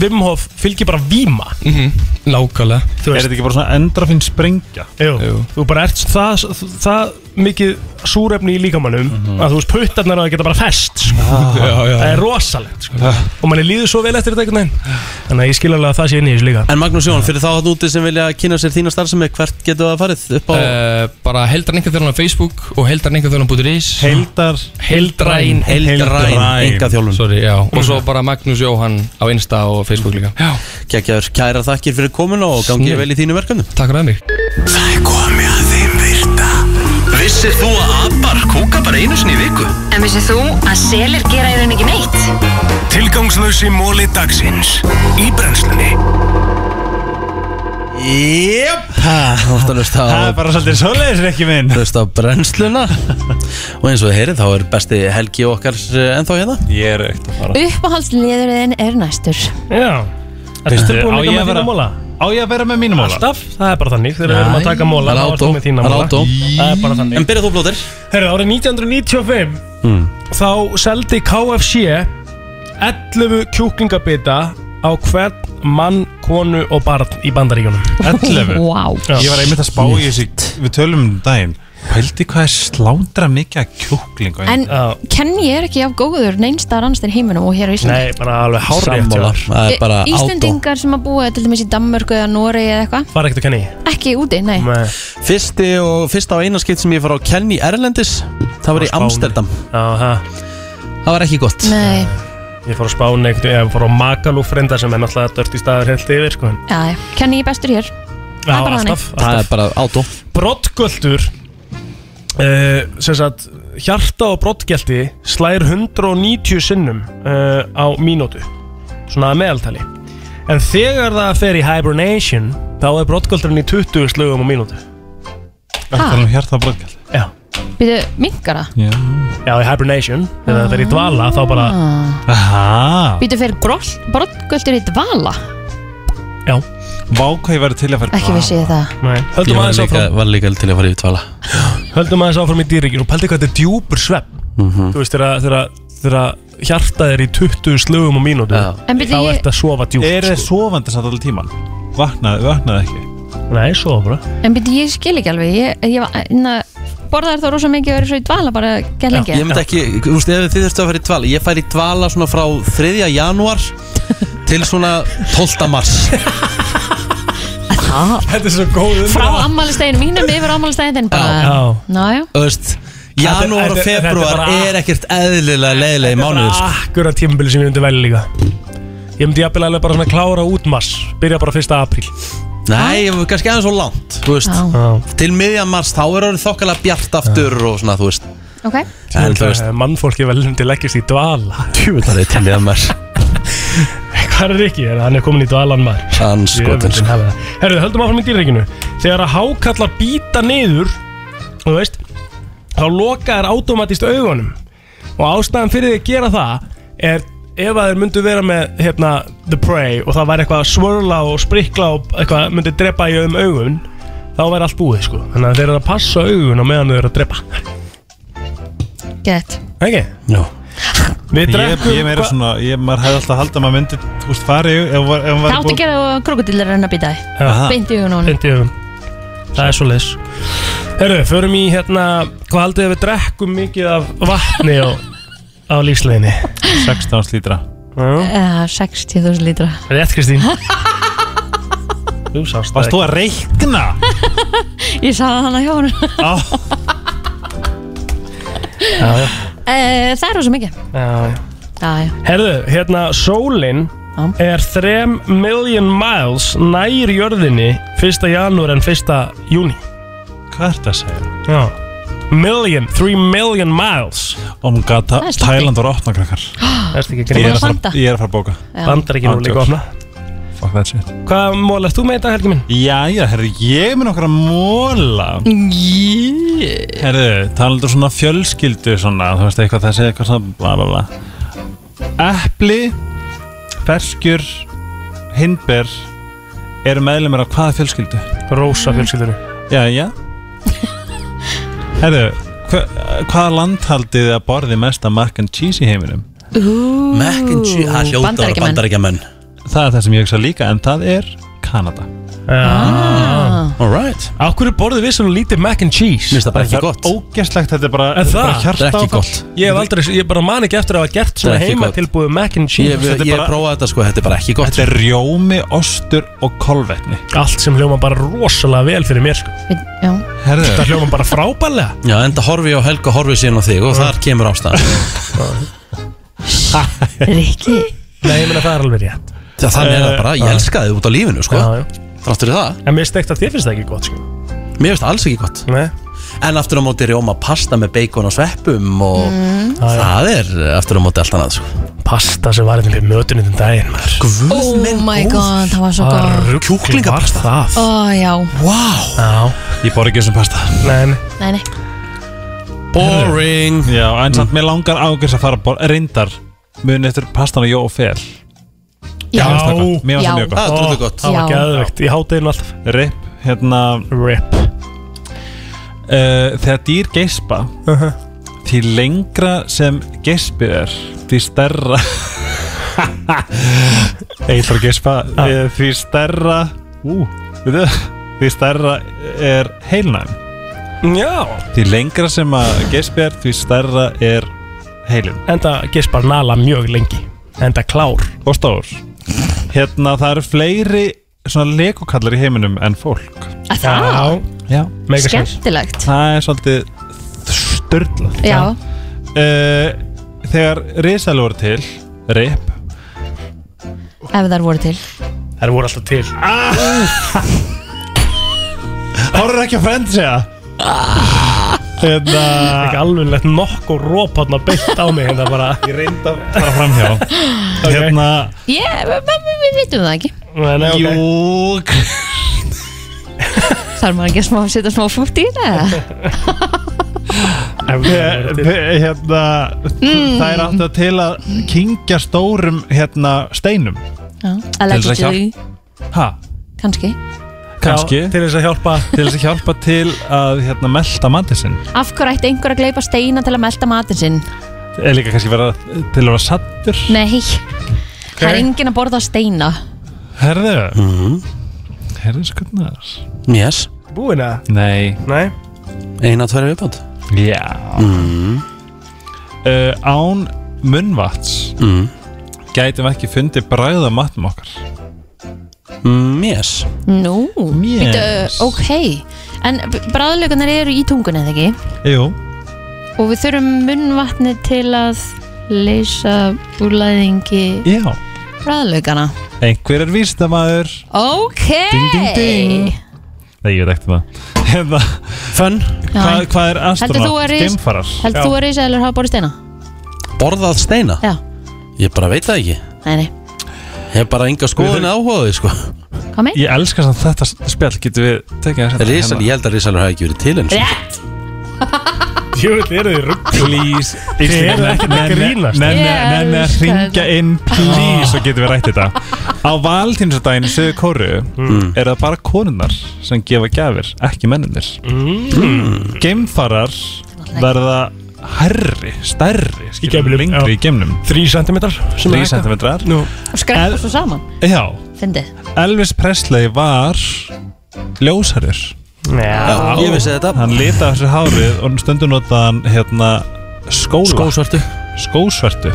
Wim Hof fylgir bara víma mm -hmm. nákvæmlega Þú Er veist. þetta ekki bara svona endrafinn sprengja? Jú, þú bara ert það, það mikið súrefni í líkamannum að þú veist puttarnar og það geta bara fest sko. Já, já. það er rosalegt sko. og manni líður svo vel eftir þetta einhvern veginn þannig að ég skil alveg að það sé inn í þessu líka En Magnús Jón, fyrir þá hann úti sem vilja kynna sér þína starfsemi, hvert getur það farið? Upp á... Eh, bara heldar einhvern á Facebook og heldar einhvern þjóðan bútur ís Heildar Heildræn Heildræn, engaþjólun. Sorry, já Og svo bara Magnús Jóhann á Insta og Facebook líka Já Kækjaður, kæra þakkir fyrir komuna og gangi Snill. vel í þínu verkefnu. Takk fyrir að mig Það er komið að þeim virta Vissir þú að abar kúka bara einu sinni í viku? En vissið þú að selir gera í rauninni ekki neitt? Tilgangslösi móli dagsins Í brennslunni Jöp! Það er hlusta Það á, er bara svolítið svoleiðis ekki minn hlusta á brennsluna og eins og þið heyrið þá er besti helgi okkar eh, ennþá hérna. Ég er ekkert að fara Uppáhaldsliðurinn er næstur Já Veistu, Ertu búin á líka ég með að vera- þína móla? Á ég að vera með mínum ála? Alltaf, það er bara þannig Þegar við erum að taka móla Það er þá ertu átó, með þína það er móla. átó. Það er bara þannig En byrja þú blóðir. Herru, árið 1995 Mm. Þá seldi KFC 11 kjúklingabita á hvern mann, konu og barn í bandaríkjunum 11 Wow Ég var einmitt að spá í þessi Við tölum um daginn Pældi hvað er slándra mikið að kjúkling á einum En Já. kenni ég er ekki af góður neinstar annstir heiminum og hér á Íslandi Nei, bara alveg hárið Sammála, það er bara Í- átó. Íslendingar sem að búa til dæmis í Danmörku eða Noregi eða eitthvað Fara ekkert að kenni Ekki úti, nei Nei. Fyrsti og fyrsta og eina skipt sem ég fór á Kenny Erlendis, það var í Spáni. Amsterdam. Aha. Það var ekki gott. Nei, Ég fór á Spáni einhvern veginn, ég fór á Magalú frenda sem er náttúrulega dört í staður heilt yfir sko. en- já, já, kenni ég bestur hér Já, bara þannig. alltaf, alltaf. Það er bara átó. Brottgöldur uh, sem sagt hjarta og brottgelti slær 190 sinnum uh, á mínútu svona að meðaltali en þegar það fer í hibernation þá er brottgöldurinn í 20 slögum á mínútu Það er hérna nú hjarta bröðkjall já, Býtu, minkar það? já í hibernation þegar það fer í dvala þá bara Ah. Ah. Aha Býtu fyrir brottgöldur í dvala? já, Vá hvað ég verið til að fara Ekki vissi ég það nei, Ég höldum var aðeins líka, áfram var líka til að fara í tvala. höldum aðeins áfram í dýrikinu og pældi hvað þetta er djúpur svepp þú veist þegar- þegar þegar hjartað er í 20 slögum á mínútu Já. En byrju, þá ég- ert að sofa djúpt sko. Er þið sofandi samt alveg tíman? Vaknaði, vaknaði ekki nei, sofa bara En býtu, ég skil ekki alveg Ég, ég var, na, borðar þá rosa mikið og verið svo í dvala bara gett lengi Ég myndi ekki, þú veist, ef þið þurftu að fara í dvala Ég fær í dvala svona frá 3. janúar Til svona 12. mars Þetta er svo góð umræða Frá ammálistæðinu mínum yfir ammálistæðinu bara Já. Nája Þú veist, janúar og þetta- þetta er februar bara- er ekkert eðlilega leiðilegi mánuður sko. Akkurat tímbili sem ég myndi velja líka Ég myndi jafnvel alveg bara svona klára út mass Byrja bara 1. apríl Nei, ég var kannski aðeins svo langt Þú veist, Já. til miðjan mars Þá er orðið þokkala bjart aftur og svona, þú veist Ok En þú veist, Mannfólki vel eh, myndi leggjast í dvala tjúvitað er til í að mars Hvað er ekki? Hann er komin í dvalan maður Hann Ég skotin myndi sko hafa það. Herðu, höldum áfram í dýrreikinu Þegar að hákallar býta niður Þú veist Þá loka þær automatist augunum Og ástæðan fyrir því að gera það Er ef að þeir myndu vera með hérna, The Prey og það væri eitthvað að svörla og sprikla og eitthvað myndi drepa í um augun þá væri allt búið sko þannig að þeir eru að passa augun á meðan þau eru að drepa Gett ekki? Já. Við Ég, drekkum ég meira hva- svona, ég, maður hefði alltaf haldið að maður myndi, þú veist, fari ef, ef, ef maður Það átti að gera krokodillar en að býta þið Já. Beint í hugunum Beint í augun Það er svo leis Herru, förum í hérna Hvað haldið þið við drekkum mikið af vatni á, á lífsleginni? 16 slítra Já, 60.000 lítra Rétt Kristín Þú sást Varst þú að reikna? Ég sagði hana hjá hún Á, Já, já, Eh, Það er rosa mikið já, já Já, já. Herðu, hérna, sólin er 3 million miles nær jörðinni 1. janúar en 1. júni. Hvað er það að segja? Já. Million, 3 million miles. Oh my god, Það er slæmt. Thailand var að opna krakkar Það er ekki Ég er greið. að fara- ég er að fara að bóka Já. Bandaríkin eru líka að opna. Fuck that shit Hvað mól ert þú með þetta, Helgi minn? Jæja, herri, ég er með nokkra móla Yeah. Herri, talandur svona fjölskyldu svona, þú veist eitthvað það segja eitthvað svona bla bla bla Epli, ferskjur, hindber eru meðlumir af hvaða fjölskyldu? Rósa fjölskyldur Jæja Herri, hva, hvaða land haldið þið að borði mest af mac and cheese í heiminum? Mac and cheese, það hljóta að vera Bandaríkjamenn. bandaríkjamenn Það er það sem ég hugsa líka, en það er Kanada Ah. Alright Á hverju borðu við svona lítið mac and cheese? Mér finnst það bara ekki gott Það er ógæstlegt, þetta er bara, En það, bara hjarta Ég hef aldrei, ég bara man ekki eftir að hafa gert Það svona er ekki heima gott. tilbúið mac and cheese Ég, ég, ég prófaði þetta sko, þetta er bara ekki gott Þetta er rjómi, ostur og kolvetni Allt sem hljóma bara rosalega vel fyrir mér sko. Já Herðu. Þetta hljóma bara frábælega Já, enda horfi ég á Helga horfi síðan á þig og þar kemur ástæðan Rikki Nei, ég meina það er alveg rétt Já, þannig er það bara, ég elska þið út á lífinu sko Þráttur það En mér steikt að þér finnst það ekki gott sko. Mér finnst það alls ekki gott Nei. En aftur á móti rjóma pasta með bacon og sveppum og Mm. það er eh, aftur á móti allt annað sko. Pasta sem var einnig mötunni þinn daginn Guð Oh my god, það var svo góð Kjúklingapasta Það Ó já Wow Já Ég bor ekki þessum pasta Nei, Nei, nei Boring Já, en samt mér langar ágæs að fara að borða Reyndar mun eftir pastan og jó og fel Já. Mér finnst það gott. Mér Já. finnst það mjög gott Það er drullu gott. Það var Já. geðveikt. Ég háti einu alltaf Rip, hérna Rip Eh, Þegar dýr geispa Því lengra sem geispið er Því stærra Eithar geispa eh, Því stærra Ú, veitu Því stærra er heilnæm Já Því lengra sem að geispi er Því stærra er heilin Enda geispar nala mjög lengi Enda klár Og stór Hérna það eru fleiri svona legokallar í heiminum en fólk Að það? Já Mega sens. Skemmtilegt Það er svolítið störtlað Já. Eh, Þegar risalur voru til Rip Ef þær voru til Það voru alltaf til Horfur ekki að frend segja Þetta Ekki alveg lett nokkuð rópatna beitt á mig Þetta bara Ah. Ég reynda bara framhjá Hérna Ég, við- við við vitum það ekki nei, okay. Júk Þarf maður ekki að smá, setja smá fútt í það Þe- þe- hérna, Mm. Það er alltaf til að kingja stórum hérna, steinum Já þess að Allegedly ha, Kanski Kanski Til þess að hjálpa Til þess að hjálpa til að hérna, melta matið sinn Af hverju ætti einhver að gleypa steina til að melta matinn sinn? Er líka kannski vera, til að vera sattur Nei Það er enginn að borða steina Herðu mm -hmm. Herðu skurnar Yes Búin að Nei Nei Eina, tværi viðbót Já mm. uh, Án munnvats mm. Gætum við ekki fundið bræða matnum okkar mm, Yes Nú Yes. Býtu, ok En bræðlökunar eru í tungunni eða ekki Jú Og við þurfum munnvatni til að leysa úrlæðingi Já bræðlökana Einhver er vísdamaður Ok Ding, ding, ding. Nei, ég veit ekkert um það Hérna Fönn Hvað hva er astronaut? Gemfarar Heldur þú að reysa eða hafa borðið steina? Borðað steina? Já. Ég bara veit það ekki Nei, nei Ég hef bara enga skoðin áhuga á því sko Hvað með? Ég elska samt þetta spjall Getum við tekið hérna? það Rísal, ég held að Rísalur hafi ekki verið til eins Rétt Jöfnvel eru þið rugg Please hérna, Þið eru ekkert að grínast Nenni að hringja inn Please og getum við rætt þetta Á valtínsdaginn í Söðu Kóru Er það bara konunnar sem gefa gjafir Ekki menninir Mm. Gemfarar verða Herri, stærri skilur, Lengri í gemnum 3 cm 3 cm Og skræpa svo saman Já, Fyndið Elvis Presley var Ljósarur Já, ég vissi þetta. Hann litaði þessu hárið og stundum notaði hann hérna skóla Skósvertu Skósvertu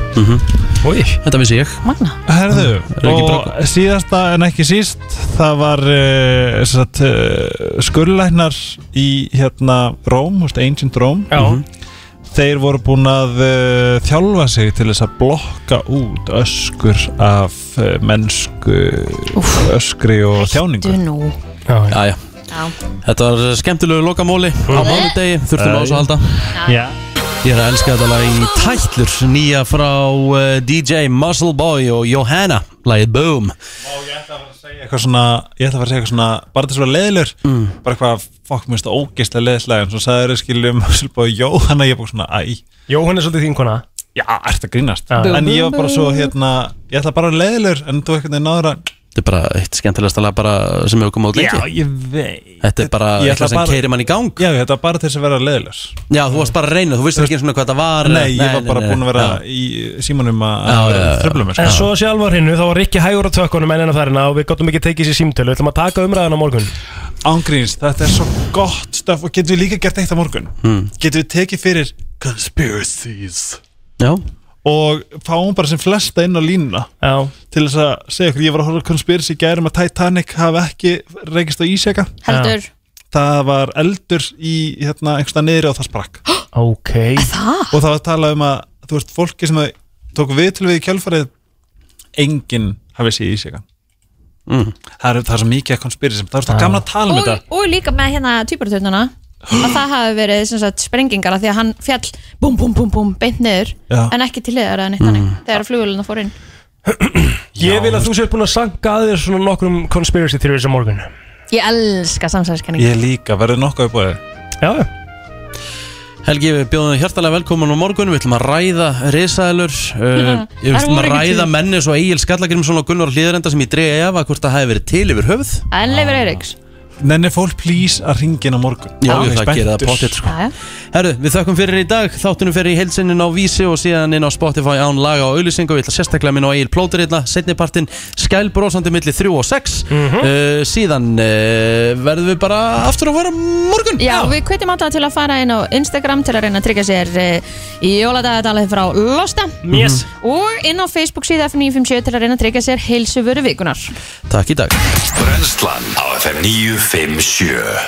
Úi, þetta vissi ég Magna Herðu, Er ekki og síðasta en ekki síst það var uh, satt, eh, uh, skurlæknar í hérna Róm, þú veist, Ancient Róm Já. þeir voru búin að uh, þjálfa sig til þess að blokka út öskur af uh, mennsku eh, öskri og þjáningu Dunu Já, já. Þetta var skemmtilegu lokamóli á mánudegi, þurftum á þessu að halda Já Ég er að elska þetta lag í tætlur nýja frá eh, DJ Muscle Boy og Johanna lagið Boom eitthvað svona, ég ætla að fara að segja eitthvað svona bara þetta svona leiðilegur, bara eitthvað fokk mér þetta ógeðslega leiðislega en svo sagði þeir skiljum svolítið Jóhanna, ég er bara svona æ Jóhanna er svolítið þín kona Já, ert að grínast Já. en ég var bara svo hérna, ég ætla bara að vera leiðilegur en þú eitthvað náður að Þetta er bara eitt skemmtilegasta lag bara sem hefur komið út Já, lengi ég veit Þetta er bara Ég ætla eitthvað sem bara- keirir mann í gang Já, þetta var bara til þess að vera leiðilegs Já, þú varst bara að reyna, þú vissir ekki eins og hvað það var Nei, ég var nei, bara nei, búin að vera já. í símanum Já, að sko. já, já. þröflum En svo sjálfar hinnu, þá var Rikki hægur á tökkunum ennina þarna og við gotum ekki tekið sér símtölu, við ætlum að taka umræðan á morgun Ángríns, þetta er svo gott stöf og getum við líka gert eitt á morgun Hmm. getum við tekið fyrir conspiracies Já. og fáum bara sem flesta inn á línuna Já. til þess að segja okkur, ég var að horfa á conspiracy í gærum að Titanic hafi ekki reykist á ísjaka Heldur. Já. það var eldur í hérna, einhversta niðri og það sprakk Ok það? og það var að tala um að þú veist, fólki sem það tók við til við í kjálfarið enginn hafi séð ísjakan mm. það, er, það er svo mikið að conspiracy það er svo gamla að tala um og, þetta og líka með hérna týparatönduna að það hafi verið sem sagt, sprengingar af því að hann fjall búm búm búm búm beint niður Já. en ekki til liðar eða neitt þannig Mm. þegar flugulina fór inn Ég vil að þú sér búin að sanka að þér svona nokkrum conspiracy theories á morgun ég elska samsæðiskenning Ég líka, verður nokkuð upp á þig Já Helgi, við bjóðum þig hjartalega velkomin á morgun Við ætlum að ræða risaðilur uh, Við Þær ætlum að voru ekki ræða til. menni svo Egil Skallagrimsson og Gunnar Hlýðarenda sem ég dreig ef að hvort það hefði verið til yfir höfuð en Leifur Eiriks Nenni fólk please að ringin á morgun Já, Alveg ég það spenntur. gerir það potið sko. Herru, við þökkum fyrir í dag Þáttunum fyrir í heilsinnin á Vísi og síðan inn á Spotify án laga og auðlýsingu Við ætla sérstaklega minn á Egil Plóter hérna, illa Setnipartin skælbrósandi milli 3 og 6 uh, Síðan uh, verðum við bara aftur að vera morgun Já, við kveitum alltaf til að fara inn á Instagram til að reyna að tryggja sér eh, í jóladagadalið frá Losta Yes. og inn á Facebook síða F957 til að reyna að tryggja sér heilsuvöru vikunar Takk í dag Brennslan á FM 957